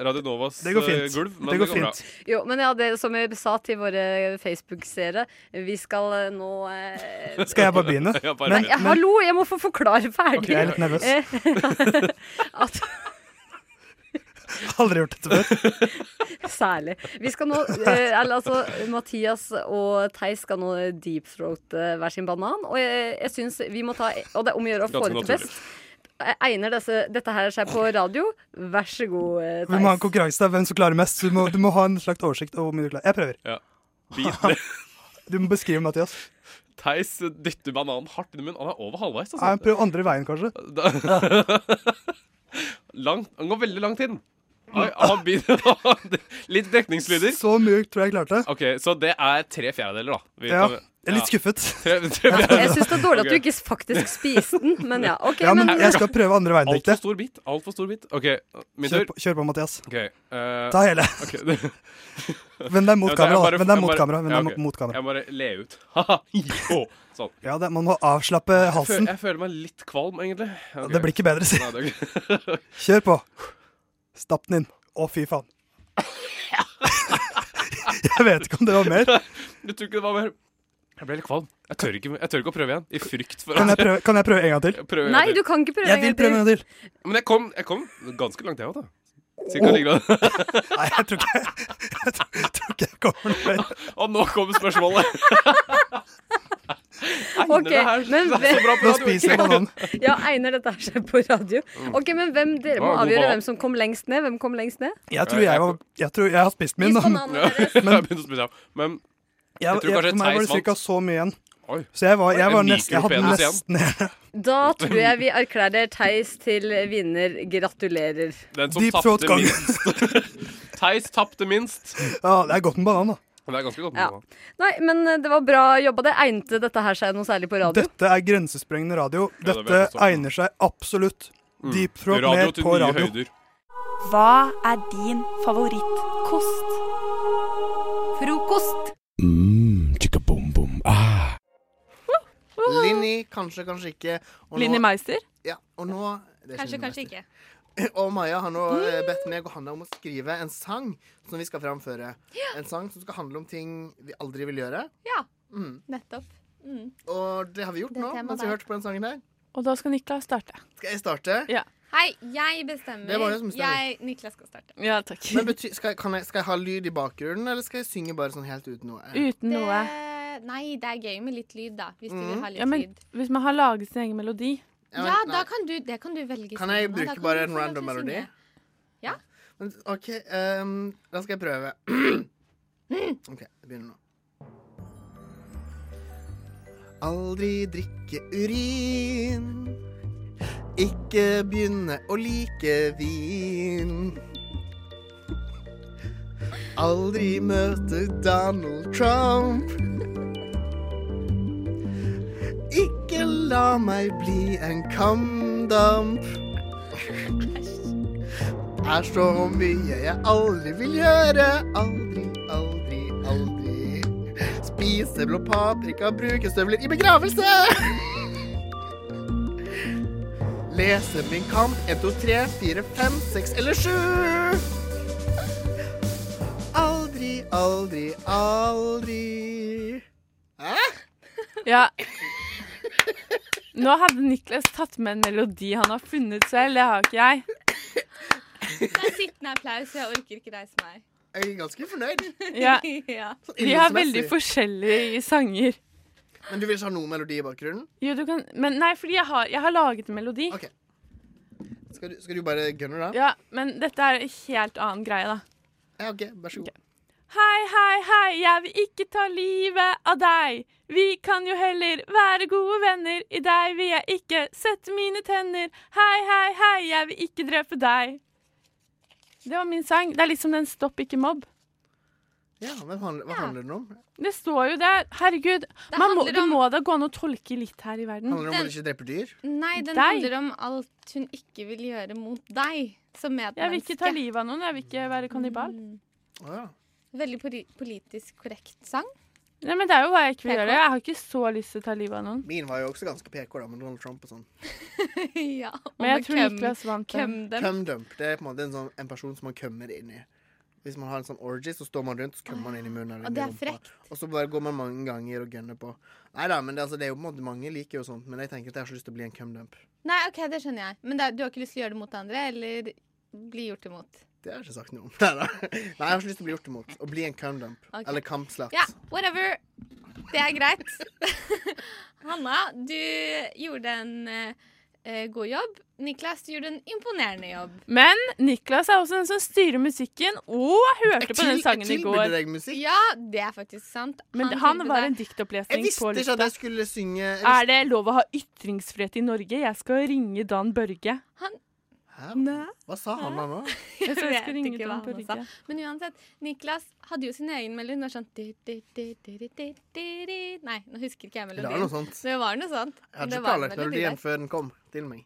Radio Novas
Det går fint.
eh, gulv,
Det
men det
går
går, bra.
fint.
Jo, men ja, det som jeg sa til våre Facebook-seere, vi skal eh, nå eh,
Skal jeg bare begynne?
Ja, bare
Nei,
begynn.
jeg,
Men-
hallo, jeg må få forklare
Ok,
ferdig.
jeg er litt nervøs.
Eh, At,
Aldri gjort dette før.
Særlig. Vi skal nå, eh, eller altså, Mathias og Theis skal nå deepthroate hver sin banan. Og jeg, jeg syns vi må ta Og det er om å gjøre å få
Ganske
det til best. Egner disse, dette her seg på radio? Vær så god, eh,
Vi må ha
Theis.
en konkurranse der hvem som klarer mest. Du må, du må ha en slags oversikt over hvor mye du klarer. Jeg prøver.
Ja. Bit-
Du må beskrive Mathias.
Theis dytter bananen hardt inn i munnen. Han er over halvveis.
Ja,
Altså.
prøv andre veien, kanskje.
Langt, han går veldig langt inn. Oi, han begynner- Litt dekningslyder.
Så mye tror jeg jeg klarte.
Ok, Så det er tre fjerdedeler, da. Vi
Ja,
kan-
jeg er litt skuffet.
Tre, tre fjerdedeler.
Jeg syns det er dårlig at du
Ok.
ikke faktisk spiste den, men ja. ok,
Ja, men
men
jeg skal prøve andre veien,
Altfor
Dikte.
stor bit. Altfor stor bit. OK, min
Kjør,
tur.
på- kjør på, Mathias.
Ok, eh,
Ta hele.
ok. Ja,
Vend deg mot
så jeg
kamera, da.
bare-
Vend deg
jeg
mot
bare-
kamera, vend
ja,
deg
ok.
mot kamera.
Jeg bare le ut. Haha. Å, sånn.
Ja, det, man må avslappe
Jeg føler,
halsen.
jeg føler meg litt kvalm, egentlig. Ok.
Det blir ikke bedre, si.
Nei, det er ok.
Kjør på. Stapp den inn. Å, fy faen. Jeg vet ikke om det var mer.
Jeg tror ikke det var mer. Jeg ble litt kvalm. Jeg tør ikke, jeg tør ikke å prøve igjen, i frykt for
Kan jeg prøve, kan jeg prøve en gang til?
Prøv
Nei, du kan ikke prøve
Jeg vil prøve en gang til.
Men jeg kom, jeg kom ganske langt, jeg òg, da. Cirka like langt.
Nei, jeg tror ikke jeg, tror ikke jeg kommer noe mer.
Og nå kommer spørsmålet.
Ok,
det her
men
så bra på Nå radio. Mm. spiser jeg bananen.
Ja, egner dette her seg på radio? Ok, men hvem, Dere
Hva er
må
god
avgjøre
banan?
hvem som kom lengst ned. Hvem kom lengst ned?
Jeg tror jeg, var, jeg, tror jeg har spist min, da.
bananen,
Ja, jeg begynte å spise, ja. Men
Jeg,
jeg
jeg, for
tror kanskje
meg var
Theis
det ca.
vant.
så mye igjen.
Oi.
Så jeg, var, jeg,
En
var nesten, jeg hadde
mikropenis igjen.
nesten
Da tror jeg vi erklærer Theis til vinner. Gratulerer.
Den som
Deep throat
tapte
gang.
minst. Theis tapte minst.
Ja, det er godt med banan, da.
Det er ganske godt.
Ja. Nei, men eh, det var bra jobba. Det egnet dette her seg noe særlig på radio?
Dette er grensesprengende radio.
Ja, det vet
Dette
jeg sånn.
egner seg absolutt. Deep throat
Mm. Radio
ned
til
på
nye
radio.
høyder.
Hva er din favorittkost? Frokost.
Mm, chicka boom boom. Ah.
Linni, kanskje, kanskje ikke. Og nå-
Linni Meister?
Ja, og nå det er
Kanskje,
Linni
kanskje ikke.
Meister. Og Maja har nå eh, bedt meg og Hanna om å skrive en sang som vi skal framføre. En sang som skal handle om ting vi aldri vil gjøre.
Ja,
Mm.
nettopp. Mm.
Og det har vi gjort
Det
nå,
temaet
mens vi
der.
har hørt på den sangen her.
Og da skal Niklas starte.
Skal jeg starte?
Ja.
Hei, jeg bestemmer.
Det var det som bestemmer.
Jeg, Niklas skal starte.
Ja, takk.
Men bety skal, jeg- kan jeg, skal jeg ha lyd i bakgrunnen, eller skal jeg synge bare sånn helt uten noe?
Uten noe.
Det, nei, det er gøy med litt lyd, da. Hvis du
Mm.
vil ha litt
Ja, men
lyd.
hvis man har laget sin egen melodi
Ja, da kan du, det kan du velge.
Kan jeg
selv,
bruke
da. Da kan du
bare
få
en
lov
random
til å synge.
melodi?
Ja.
Men, OK, ehm, da skal jeg prøve. OK, jeg begynner nå. Aldri drikke urin. Ikke begynne å like vin. Aldri møte Donald Trump. Ikke la meg bli en kamdamp. Er så mye jeg aldri vil gjøre. Aldri, aldri, aldri. Spise blå paprika, bruke støvler i begravelse. Lese Min Kamp 1, 2, 3, 4, 5, 6 eller 7. Aldri, aldri, aldri. Hæ?
Ja. Nå hadde Niklas tatt med en melodi han har funnet selv. Det har ikke jeg.
Det er sittende applaus. Jeg orker ikke reise meg.
Jeg er ganske fornøyd.
Ja.
Ja.
Vi har veldig forskjellige sanger.
Men du vil ikke ha noe melodi i bakgrunnen?
Jo, du kan Men nei, fordi jeg har, jeg har laget en melodi.
Skal du, skal du bare gunne, da?
Ja, men dette er en helt annen greie, da.
Ja, OK. Vær så god.
Hei, hei, hei, jeg vil ikke ta livet av deg. Vi kan jo heller være gode venner. I deg vil jeg ikke sette mine tenner. Hei, hei, hei, jeg vil ikke drepe deg. Det var min sang. Det er liksom den Stopp ikke mobb.
Ja, men hva handler, hva handler den om?
Det står jo der. Herregud.
Det
Man må,
handler
det
om-
må da gå an å tolke litt her i verden.
Handler den om å ikke drepe dyr?
Nei, den
Deg.
handler om alt hun ikke vil gjøre mot deg som medmenneske.
Jeg vil ikke ta livet av noen. Jeg vil ikke være kannibal.
Mm. Veldig poli- politisk korrekt sang.
Nei, men Det er jo hva jeg ikke vil
PK.
gjøre. Jeg har ikke så lyst til å ta livet av noen.
Min var jo også ganske PK, da, med Donald Trump og sånn.
ja,
Men jeg tror Niklas vant den.
Cumdump. Det er på en måte en, sånn, en person som man kømmer inn i. Hvis man har en sånn orgy, så står man rundt, så kømmer man inn i munnen. eller
Og
inn i
det er
rumpa.
frekt.
Og så bare går man mange ganger og gunner på. Nei da, men det, altså, det er jo på en måte mange liker jo sånt, men jeg tenker at jeg har så lyst til å bli en cumdump.
Nei, ok, det skjønner jeg. Men det, er- du har ikke lyst til å gjøre det mot andre, eller bli gjort imot.
Det har jeg ikke sagt noe om. Neida. Nei, jeg har så lyst til å bli gjort imot. Å bli en cumdump.
Ok.
Eller cumpslut.
Ja, whatever. Det er greit. Hanna, du gjorde en eh, eh, god jobb. Niklas, du gjorde en imponerende jobb.
Men Niklas er også den som styrer musikken, og jeg hørte på den sangen i går.
Ja, det er faktisk sant.
Men han,
tilbød
var
deg-
en diktopplesning på lufta.
skulle synge
Er det lov å ha ytringsfrihet i Norge? Jeg skal ringe Dan Børge.
Han-
Hva sa han da nå?
Jeg skal
vet
ringe
ikke
Dan
hva
på
han sa.
Rygge.
Men uansett, Niklas hadde jo sin egen melodi. Når sånn du, du, du, du, du, du, du, du. Nei, nå husker ikke jeg
Det
melodien.
var noe sånt.
Det var noe sånt.
Jeg hadde
Det
ikke
var en
planlagt
melodi
melodien
der.
før den kom til meg.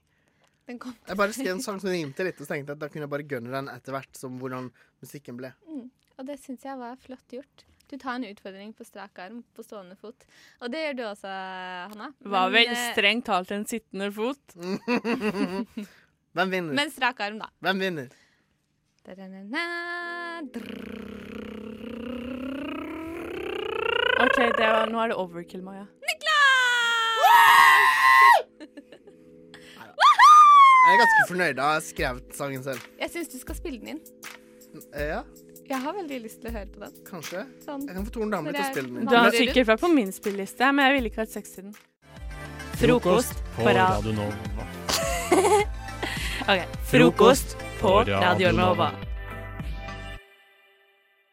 Den kom.
Jeg bare skrev en sang som rimte litt, og så tenkte jeg at da kunne jeg bare gunne den etter hvert som hvordan musikken ble.
Mm, og det syns jeg var flott gjort. Du tar en utfordring på strak arm, på stående fot. Og det gjør du også, Hanna.
Var
Men,
vel
eh,
strengt talt en sittende fot.
Hvem vinner?
Men strak arm, da.
Hvem vinner?
Da-da-da-da.
OK, det var, nå er det overkill, Maja.
Jeg er ganske fornøyd. da Jeg har skrevet sangen selv.
Jeg syns du skal spille den inn.
Eh, Ja,
Jeg har veldig lyst til å høre på den.
kanskje.
Sånn.
Jeg kan få Torn Damli
Når
til å
jeg-
spille den.
Du har sikkert vært på min spilleliste, men jeg ville ikke hatt sex i den. Frokost på rad.
Nova.
OK. Frokost på Radio Nova.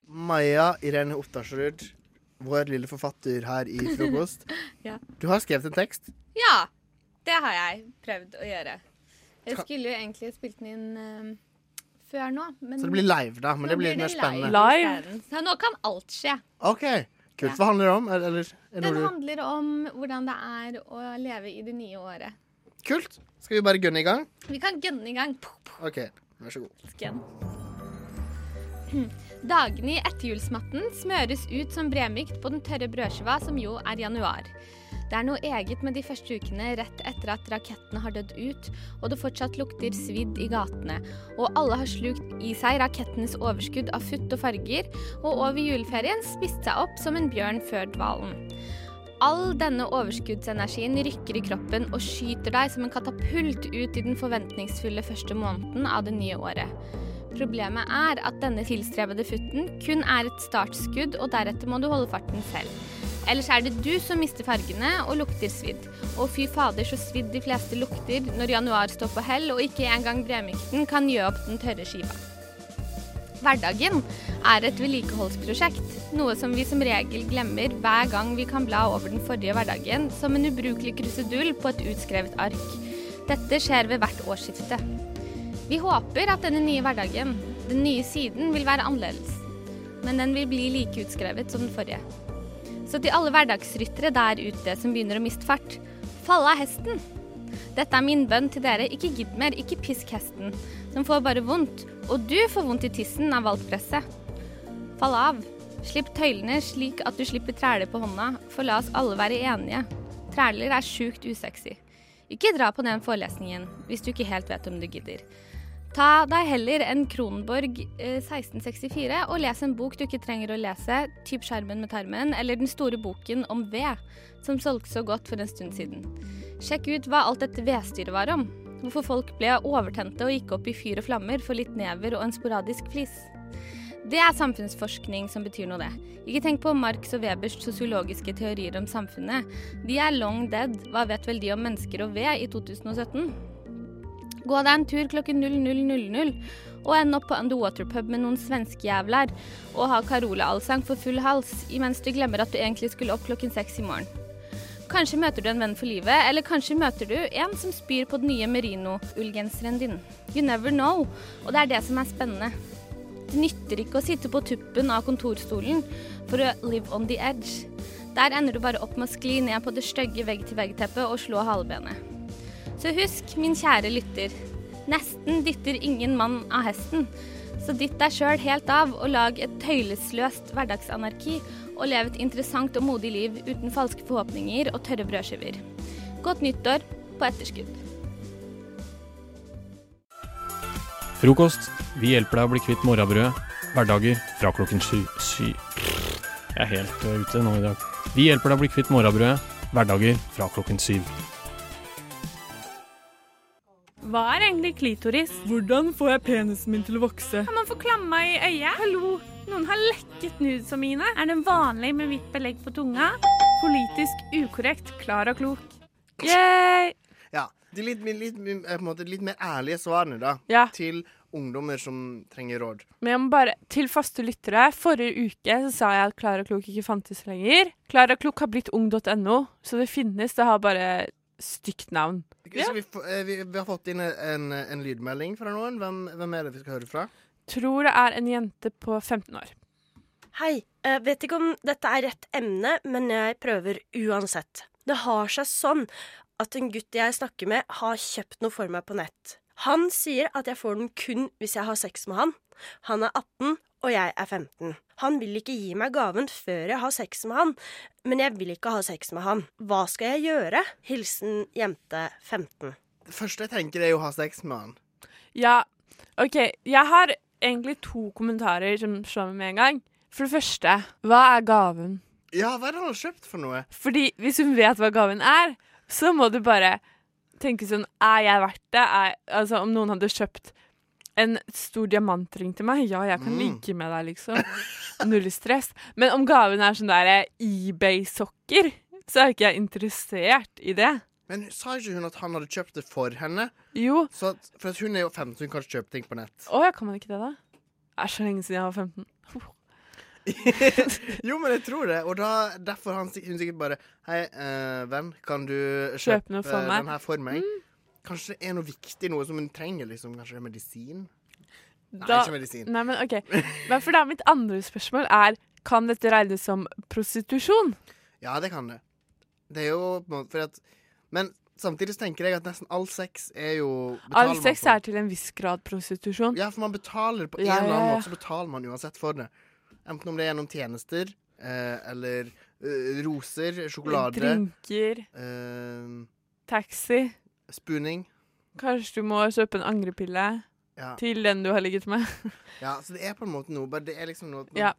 Maja Irene Ottarsrud, vår lille forfatter her i Frokost.
Ja.
Du har skrevet en tekst.
ja, det har jeg prøvd å gjøre. Jeg skulle jo egentlig spilt den inn eh, før nå, men
Så det blir live, da. Men
Nå
det blir litt mer
det live
spennende.
isteden. Så nå kan alt skje.
OK. Kult. Hva handler det om? Er- Eller, er det
Den
noe du...
handler om hvordan det er å leve i det nye året.
Kult. Skal vi bare gunne i gang?
Vi kan gønne i gang.
OK. Vær så god.
Sken. Dagene i etterjulsmatten smøres ut som bremykt på den tørre brødskiva, som jo er januar. Det er noe eget med de første ukene rett etter at rakettene har dødd ut, og det fortsatt lukter svidd i gatene. Og alle har slukt i seg rakettenes overskudd av futt og farger, og over juleferien spist seg opp som en bjørn før dvalen. All denne overskuddsenergien rykker i kroppen og skyter deg som en katapult ut i den forventningsfulle første måneden av det nye året. Problemet er at denne tilstrebede futten kun er et startskudd, og deretter må du holde farten selv. Ellers er det du som mister fargene og lukter svidd. Og fy fader så svidd de fleste lukter når januar står på hell og ikke engang bremykten kan gjøre opp den tørre skiva. Hverdagen er et vedlikeholdsprosjekt, noe som vi som regel glemmer hver gang vi kan bla over den forrige hverdagen som en ubrukelig krusedull på et utskrevet ark. Dette skjer ved hvert årsskifte. Vi håper at denne nye hverdagen, den nye siden, vil være annerledes, men den vil bli like utskrevet som den forrige. Så til alle hverdagsryttere der ute som begynner å miste fart, fall av hesten! Dette er min bønn til dere, ikke gidd mer, ikke pisk hesten. Den får bare vondt, og du får vondt i tissen av alt presset. Fall av. Slipp tøylene slik at du slipper træler på hånda, for la oss alle være enige. Træler er sjukt usexy. Ikke dra på den forelesningen hvis du ikke helt vet om du gidder. Ta deg heller en Kronborg eh, 1664 og les en bok du ikke trenger å lese, typ 'Skjermen med tarmen' eller den store boken om ved, som solgte så godt for en stund siden. Sjekk ut hva alt dette vedstyret var om. Hvorfor folk ble overtente og gikk opp i fyr og flammer for litt never og en sporadisk flis. Det er samfunnsforskning som betyr noe, det. Ikke tenk på Marx og Webers sosiologiske teorier om samfunnet. De er long dead. Hva vet vel de om mennesker og ved i 2017? Gå deg en tur klokken 00.00 og ende opp på Underwater Pub med noen svenske jævler og ha Carola-allsang for full hals, imens du glemmer at du egentlig skulle opp klokken seks i morgen. Kanskje møter du en venn for livet, eller kanskje møter du en som spyr på den nye merino-ullgenseren din. You never know, og det er det som er spennende. Det nytter ikke å sitte på tuppen av kontorstolen for å live on the edge. Der ender du bare opp med å skli ned på det stygge vegg-til-vegg-teppet og slå halebenet. Så husk, min kjære lytter, nesten dytter ingen mann av hesten. Så dytt deg sjøl helt av og lag et tøylesløst hverdagsanarki og lev et interessant og modig liv uten falske forhåpninger og tørre brødskiver. Godt nyttår på etterskudd.
Frokost. Vi hjelper deg å bli kvitt morrabrød. Hverdager fra klokken sju. Sy... Jeg er helt eh, ute nå i dag. Vi hjelper deg å bli kvitt morrabrød. Hverdager fra klokken syv.
Hva er egentlig klitoris? Hvordan får jeg penisen min til å vokse? Kan man få klamma i øyet? Hallo, noen har lekket nudesa mine. Er den vanlig med hvitt belegg på tunga? Politisk ukorrekt, klar og klok. Yay!
Ja, de litt, mer- litt, mer- eh, på en måte, litt mer ærlige svarene da til ungdommer som trenger råd.
Men jeg må bare, til faste lyttere, forrige uke så sa jeg at Klar og klok ikke fantes lenger. Klar og klok har blitt ung.no, så det finnes, det har bare stygt navn.
Så vi, få- eh, vi, vi har fått inn en, en lydmelding fra noen. Hvem, hvem er det vi skal høre fra?
Tror det er en jente på 15 år.
Hei. eh, vet ikke om dette er rett emne, men jeg prøver uansett. Det har seg sånn at en gutt jeg snakker med, har kjøpt noe for meg på nett. Han sier at jeg får den kun hvis jeg har sex med han. Han er 18, og jeg er 15. Han vil ikke gi meg gaven før jeg har sex med han, men jeg vil ikke ha sex med han. Hva skal jeg gjøre? Hilsen jente 15.
Det første jeg tenker, er jo å ha sex med han.
Ja, OK. Jeg har egentlig to kommentarer som slår meg med en gang. For det første, hva er gaven?
Ja, hva er det han har kjøpt for noe?
Fordi hvis hun vet hva gaven er, så må du bare tenke sånn Er jeg verdt det? Er, altså, om noen hadde kjøpt en stor diamantring til meg, ja, jeg kan
Mm.
ligge med deg, liksom. Null stress. Men om gaven er sånn der eh, eBay-sokker, så er jo ikke jeg interessert i det.
Men sa ikke hun at han hadde kjøpt det for henne?
Jo.
Så at, for at hun er jo 15, hun kan ikke kjøpe ting på nett.
Å ja, kan man ikke det, da? Det er så lenge siden jeg var 15.
Jo, men jeg tror det. Og da, derfor han, sik- hun sikkert bare Hei, eh, venn, kan du kjøpe
Kjøp noe for
eh,
meg.» Mm.
den her for meg? Kanskje det er noe viktig, noe som hun trenger? liksom Kanskje det er medisin? Nei,
Da-
ikke medisin.
Nei, men ok. Men for da mitt andre spørsmål er Kan dette regnes som prostitusjon?
Ja, det kan det. Det er jo på en måte fordi at Men samtidig så tenker jeg at nesten all sex er jo betaler
All
man
sex
for.
er til en viss grad prostitusjon.
Ja, for man betaler På en eller annen måte så betaler man uansett for det. Enten om det er gjennom tjenester eh, eller eh, roser, sjokolade
Drinker,
eh,
taxi.
Spooning.
Kanskje du må kjøpe en angrepille
Ja.
til den du har ligget med.
Ja, så det er på en måte noe. Bare det er liksom noe at man,
Ja.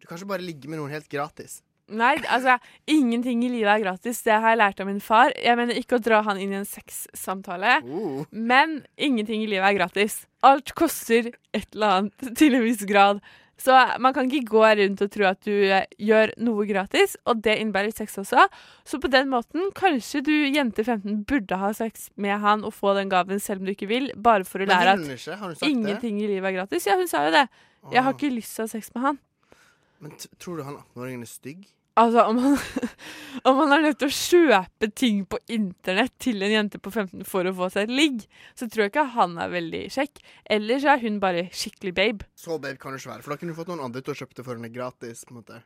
Du kan ikke bare ligge med noen helt gratis.
Nei, altså, ingenting i livet er gratis. Det har jeg lært av min far. Jeg mener ikke å dra han inn i en sexsamtale,
Uh.
men ingenting i livet er gratis. Alt koster et eller annet til en viss grad. Så man kan ikke gå rundt og tro at du eh, gjør noe gratis, og det innebærer sex også. Så på den måten, kanskje du jente 15 burde ha sex med han og få den gaven selv om du ikke vil, bare for å
Men
lære
vil hun ikke? Har hun
at
sagt det?
ingenting i livet er gratis. Ja, hun sa jo det. Jeg har ikke lyst til å ha sex med han.
Men t tror du han 18-åringen er stygg?
Altså, om man, om man er nødt til å kjøpe ting på internett til en jente på 15 for å få seg et ligg, så tror jeg ikke han er veldig kjekk. Eller så er hun bare skikkelig babe.
Så babe kan du ikke være, for da kunne du fått noen andre til å kjøpe det for henne gratis. på en måte.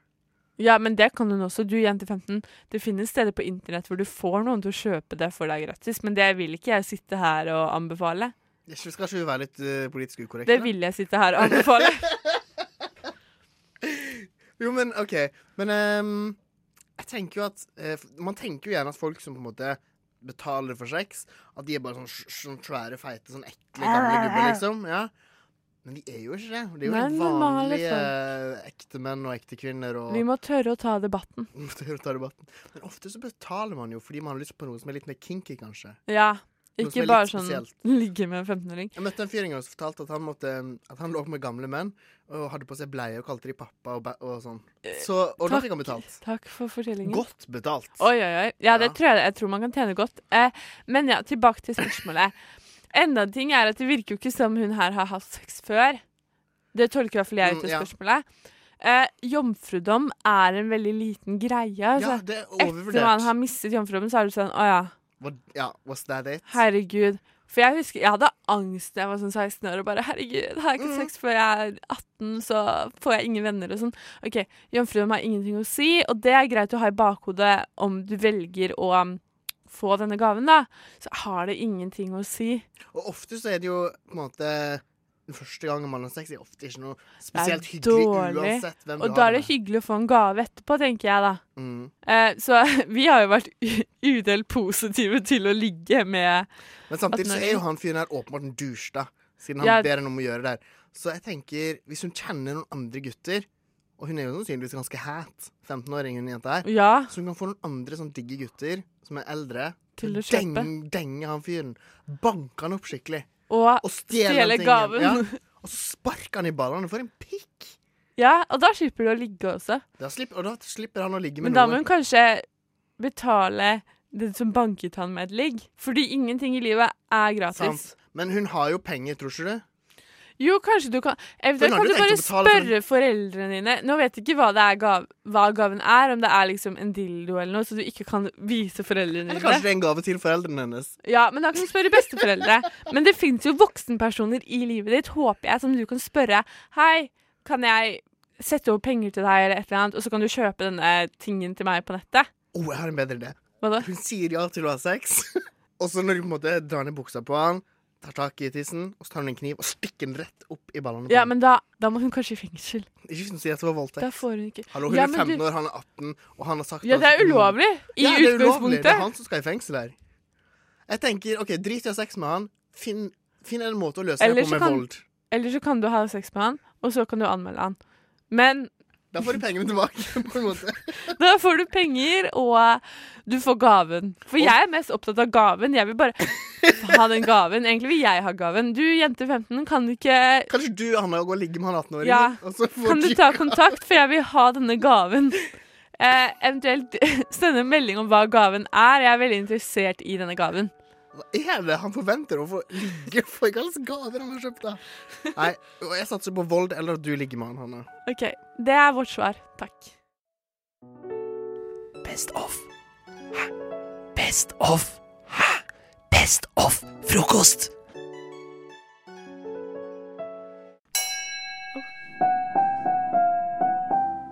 Ja, men det kan hun også, du jente 15. Det finnes steder på internett hvor du får noen til å kjøpe det for deg gratis, men det vil ikke jeg sitte her og anbefale.
Jeg synes- Skal ikke vi være litt eh, politisk ukorrekte?
Det
da?
vil jeg sitte her og anbefale.
Jo, men OK. Men ehm, jeg tenker jo at eh, Man tenker jo gjerne at folk som på en måte betaler for sex, at de er bare sånn, sj- sånn svære, feite, sånn ekle gamle gubber, liksom. Ja. Men de er jo ikke det. Det er jo
Nei,
helt
normale
vanlige eh, ekte menn og ekte kvinner. Og
Vi må tørre å ta debatten.
Vi må tørre å ta debatten. Men ofte så betaler man jo fordi man har lyst på noe som er litt mer kinky, kanskje.
Ja,
Noe som
ikke
er
bare
litt
sånn
spesielt.
ligge med en 15-åring.
Jeg møtte en fyr en gang som fortalte at han, måtte, at han lå med gamle menn og hadde på seg bleie og kalte de pappa og, ba- og sånn. Så, og
Eh, Takk.
da
Mm.
fikk han betalt.
Takk for fortellingen.
Godt betalt.
Oi, oi, oi. Ja, det tror jeg Jeg tror man kan tjene godt. Eh, men ja, tilbake til spørsmålet. Enda en ting er at det virker jo ikke som hun her har hatt sex før. Det tolker i hvert fall jeg ut
Mm,
av
ja.
spørsmålet. Eh, jomfrudom er en veldig liten greie. altså.
det er overvurdert.
Etter man har mistet jomfrudommen, så er du sånn Å ja,
What, ja, was that it?
herregud. For jeg husker, jeg hadde angst da jeg var sånn 16 år og bare Herregud, har jeg
Mm.
ikke sex før jeg er 18, så får jeg ingen venner og sånn. OK, jomfrudom har ingenting å si, og det er greit å ha i bakhodet om du velger å um, få denne gaven, da. Så har det ingenting å si.
Og ofte så er det jo på en måte Den første gangen man har sex, er ofte ikke noe
Det er
spesielt hyggelig uansett hvem
og
du
da
har
er det hyggelig å få en gave etterpå, tenker jeg, da.
Mm.
Eh, så vi har jo vært u- udelt positive til å ligge med
Men samtidig så er jo
18-åringer.
han fyren her åpenbart en douche, da. Siden han
Ja.
ber henne om å gjøre det her. Så jeg tenker, hvis hun kjenner noen andre gutter Og hun er jo sannsynligvis ganske hat, 15-åring, hun jenta her. Så hun kan få noen andre sånn digge gutter som er eldre,
Til å
deng-
kjøpe.
Denge han fyren. Banke han opp skikkelig.
Og
den
stjele
tingen.
gaven.
Ja. Og så sparke han i ballene. For en pikk!
Ja, og da slipper du å ligge også.
Da slipper, og da slipper han å ligge med
Men da må
noen.
hun kanskje betale den som banket han med et ligg. Fordi ingenting i livet er gratis.
Sant. Men hun har jo penger, tror ikke du?
Jo, kanskje du kan Eventuelt
hadde
kan
jo
du
tenkt
bare
å betale for
spørre foreldrene dine. Nå vet jeg ikke hva, det er gav, hva gaven er, om det er liksom en dildo eller noe, så du ikke kan vise foreldrene
Eller kanskje det
dine.
er en gave til foreldrene hennes?
Ja, men da kan du spørre besteforeldre. Men det fins jo voksenpersoner i livet ditt, håper jeg, som du kan spørre. Hei, kan jeg sette over penger til deg, eller et eller annet, og så kan du kjøpe denne tingen til meg på nettet?
Oh, jeg har en bedre idé.
Hva da?
Hun sier ja til å ha sex, og så når du på en måte drar ned buksa på han, tar tak i tissen, og så tar hun en kniv og stikker den rett opp i ballene på
Ja,
han.
men da, da må hun kanskje i fengsel.
Ikke hvis hun sier at det var voldtekt.
Da får hun ikke
Hallo, hun
Ja,
er
men
15
du-
år, han er 18, og han har sagt
Ja,
at-
det er ulovlig, i
ja, det er ulovlig.
utgangspunktet.
Det er han som skal i fengsel her. Jeg tenker, OK, drit i å ha sex med han. Finn, finn en måte å løse
Eller
det på
så
med
kan-
vold.
Eller så kan du ha sex med han, og så kan du anmelde han. Men
Da får du pengene tilbake, på en måte.
da får du penger, og eh, du får gaven. For jeg er mest opptatt av gaven. Jeg vil bare ha den gaven. Egentlig vil jeg ha gaven. Du, jente 15, kan du ikke
Kanskje du, Anna, går og ligger med han 18-åringen?
Ja.
og så får
Kan du ta kontakt, for jeg vil ha denne gaven. Eh, eventuelt sende en melding om hva gaven er. Jeg er veldig interessert i denne gaven.
Hva er det han forventer å få ligge for? Hva slags gaver han har kjøpt, da? Nei, og jeg satser på vold eller at du ligger med han, Hanna.
OK. Det er vårt svar. Takk.
Best of. Best of. Best of frokost.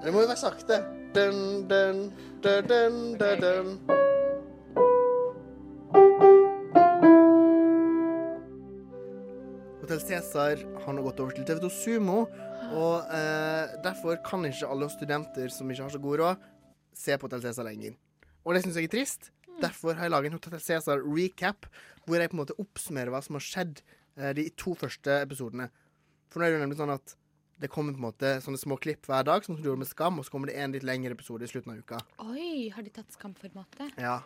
Det må jo være sakte. Dun, dun, dun, dun, dun, dun. Hotel Cæsar har nå gått over til TV2 Sumo, og eh, derfor kan ikke alle studenter som ikke har så god råd, se på Hotel Cæsar lenger. Og det syns jeg er trist. Derfor har jeg laget en Hotel Cæsar recap, hvor jeg på en måte oppsummerer hva som har skjedd eh, de to første episodene. For nå er det jo nemlig sånn at det kommer på en måte sånne små klipp hver dag, sånn som du gjorde med Skam, og så kommer det en litt lengre episode i slutten av uka.
Oi, har de tatt skamformatet?
Ja.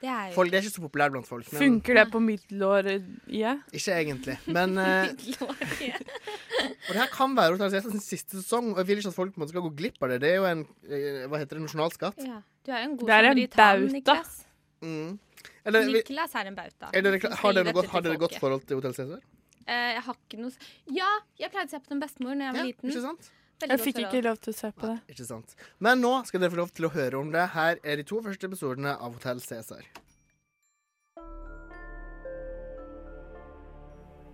Det er jo
Folk, det er ikke så populært blant folk. Men
Funker det på middelåret? Ja?
Ikke egentlig. Men eh, Og det her kan være Hotel sin siste sesong, og jeg vil ikke at folk på en måte skal gå glipp av det. Det er jo en eh, hva heter det, nasjonalskatt.
ja. Du er jo en god
Det er en
samaritan,
bauta.
Niklas.
Mm. Eller, vi,
Niklas er en bauta.
er dere,
som
kla- har
sier
dere
dette
godt, har
til
dere godt
folket.
forhold til Hotell Cæsar?
Eh, jeg har ikke noe s- Ja, jeg pleide å se på den bestemor når jeg var liten.
Ikke sant?
Veldig
Jeg
godt
fikk
forhold.
ikke lov til å se på det.
Ikke sant. Men nå skal dere få lov til å høre om det. Her er de to første episodene av Hotell Cæsar.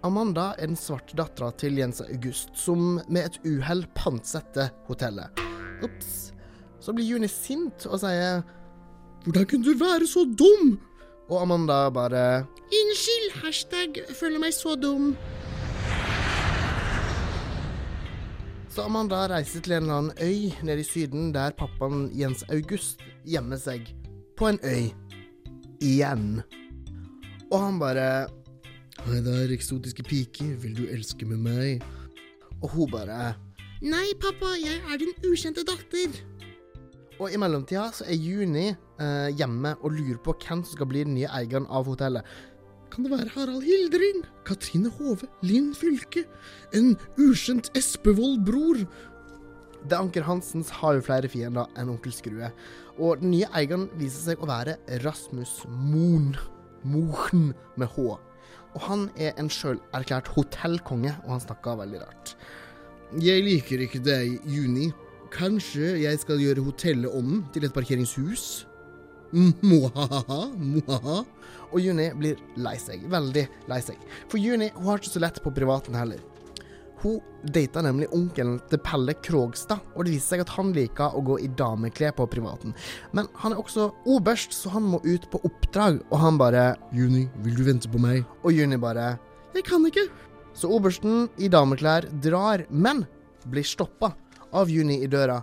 Amanda er den svarte dattera til Jens August, som med et uhell pantsetter hotellet. Ops. Så blir Juni sint og sier Hvordan kunne du være så dum? Og Amanda bare Unnskyld, hashtag føler meg så dum. Så Amanda reiser til en eller annen øy nede i Syden, der pappaen Jens August gjemmer seg. På en øy. Igjen. Og han bare Hei der, eksotiske pike, vil du elske med meg? Og hun bare Nei, pappa, jeg er din ukjente datter. Og i mellomtida så er Juni eh, hjemme og lurer på hvem som skal bli den nye eieren av hotellet. Kan det være Harald Hildrin? Katrine Hove? Linn Fylke? En ukjent Espevold-bror? Det Anker Hansens har jo flere fiender enn Onkel Skrue. Og den nye eieren viser seg å være Rasmus Moen. Mohn med H. Og han er en sjølerklært hotellkonge, og han snakker veldig rart. Jeg liker ikke deg, Juni. Kanskje jeg skal gjøre hotellet om til et parkeringshus? Mwahaha, mwahaha. Og Juni blir lei seg. Veldig lei seg. For Juni hun har ikke så lett på privaten heller. Hun data nemlig onkelen til Pelle Krogstad, og det viser seg at han liker å gå i dameklær på privaten. Men han er også oberst, så han må ut på oppdrag, og han bare Juni, vil du vente på meg? Og Juni bare Jeg kan ikke. Så obersten i dameklær drar, men blir stoppa av Juni i døra.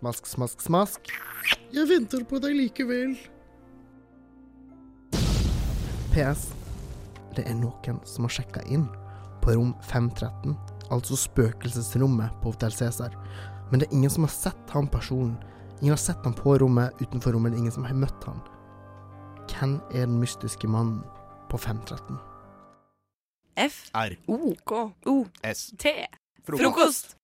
Smask, smask, smask. Jeg venter på deg likevel. PS. Det er noen som har sjekka inn på rom 513, altså spøkelsesrommet på Hotell Cæsar. Men det er ingen som har sett han personen. Ingen har sett han på rommet, utenfor rommet, det er ingen som har møtt han. Hvem er den mystiske mannen på 513?
F
R
O K O
S
T
Frokost.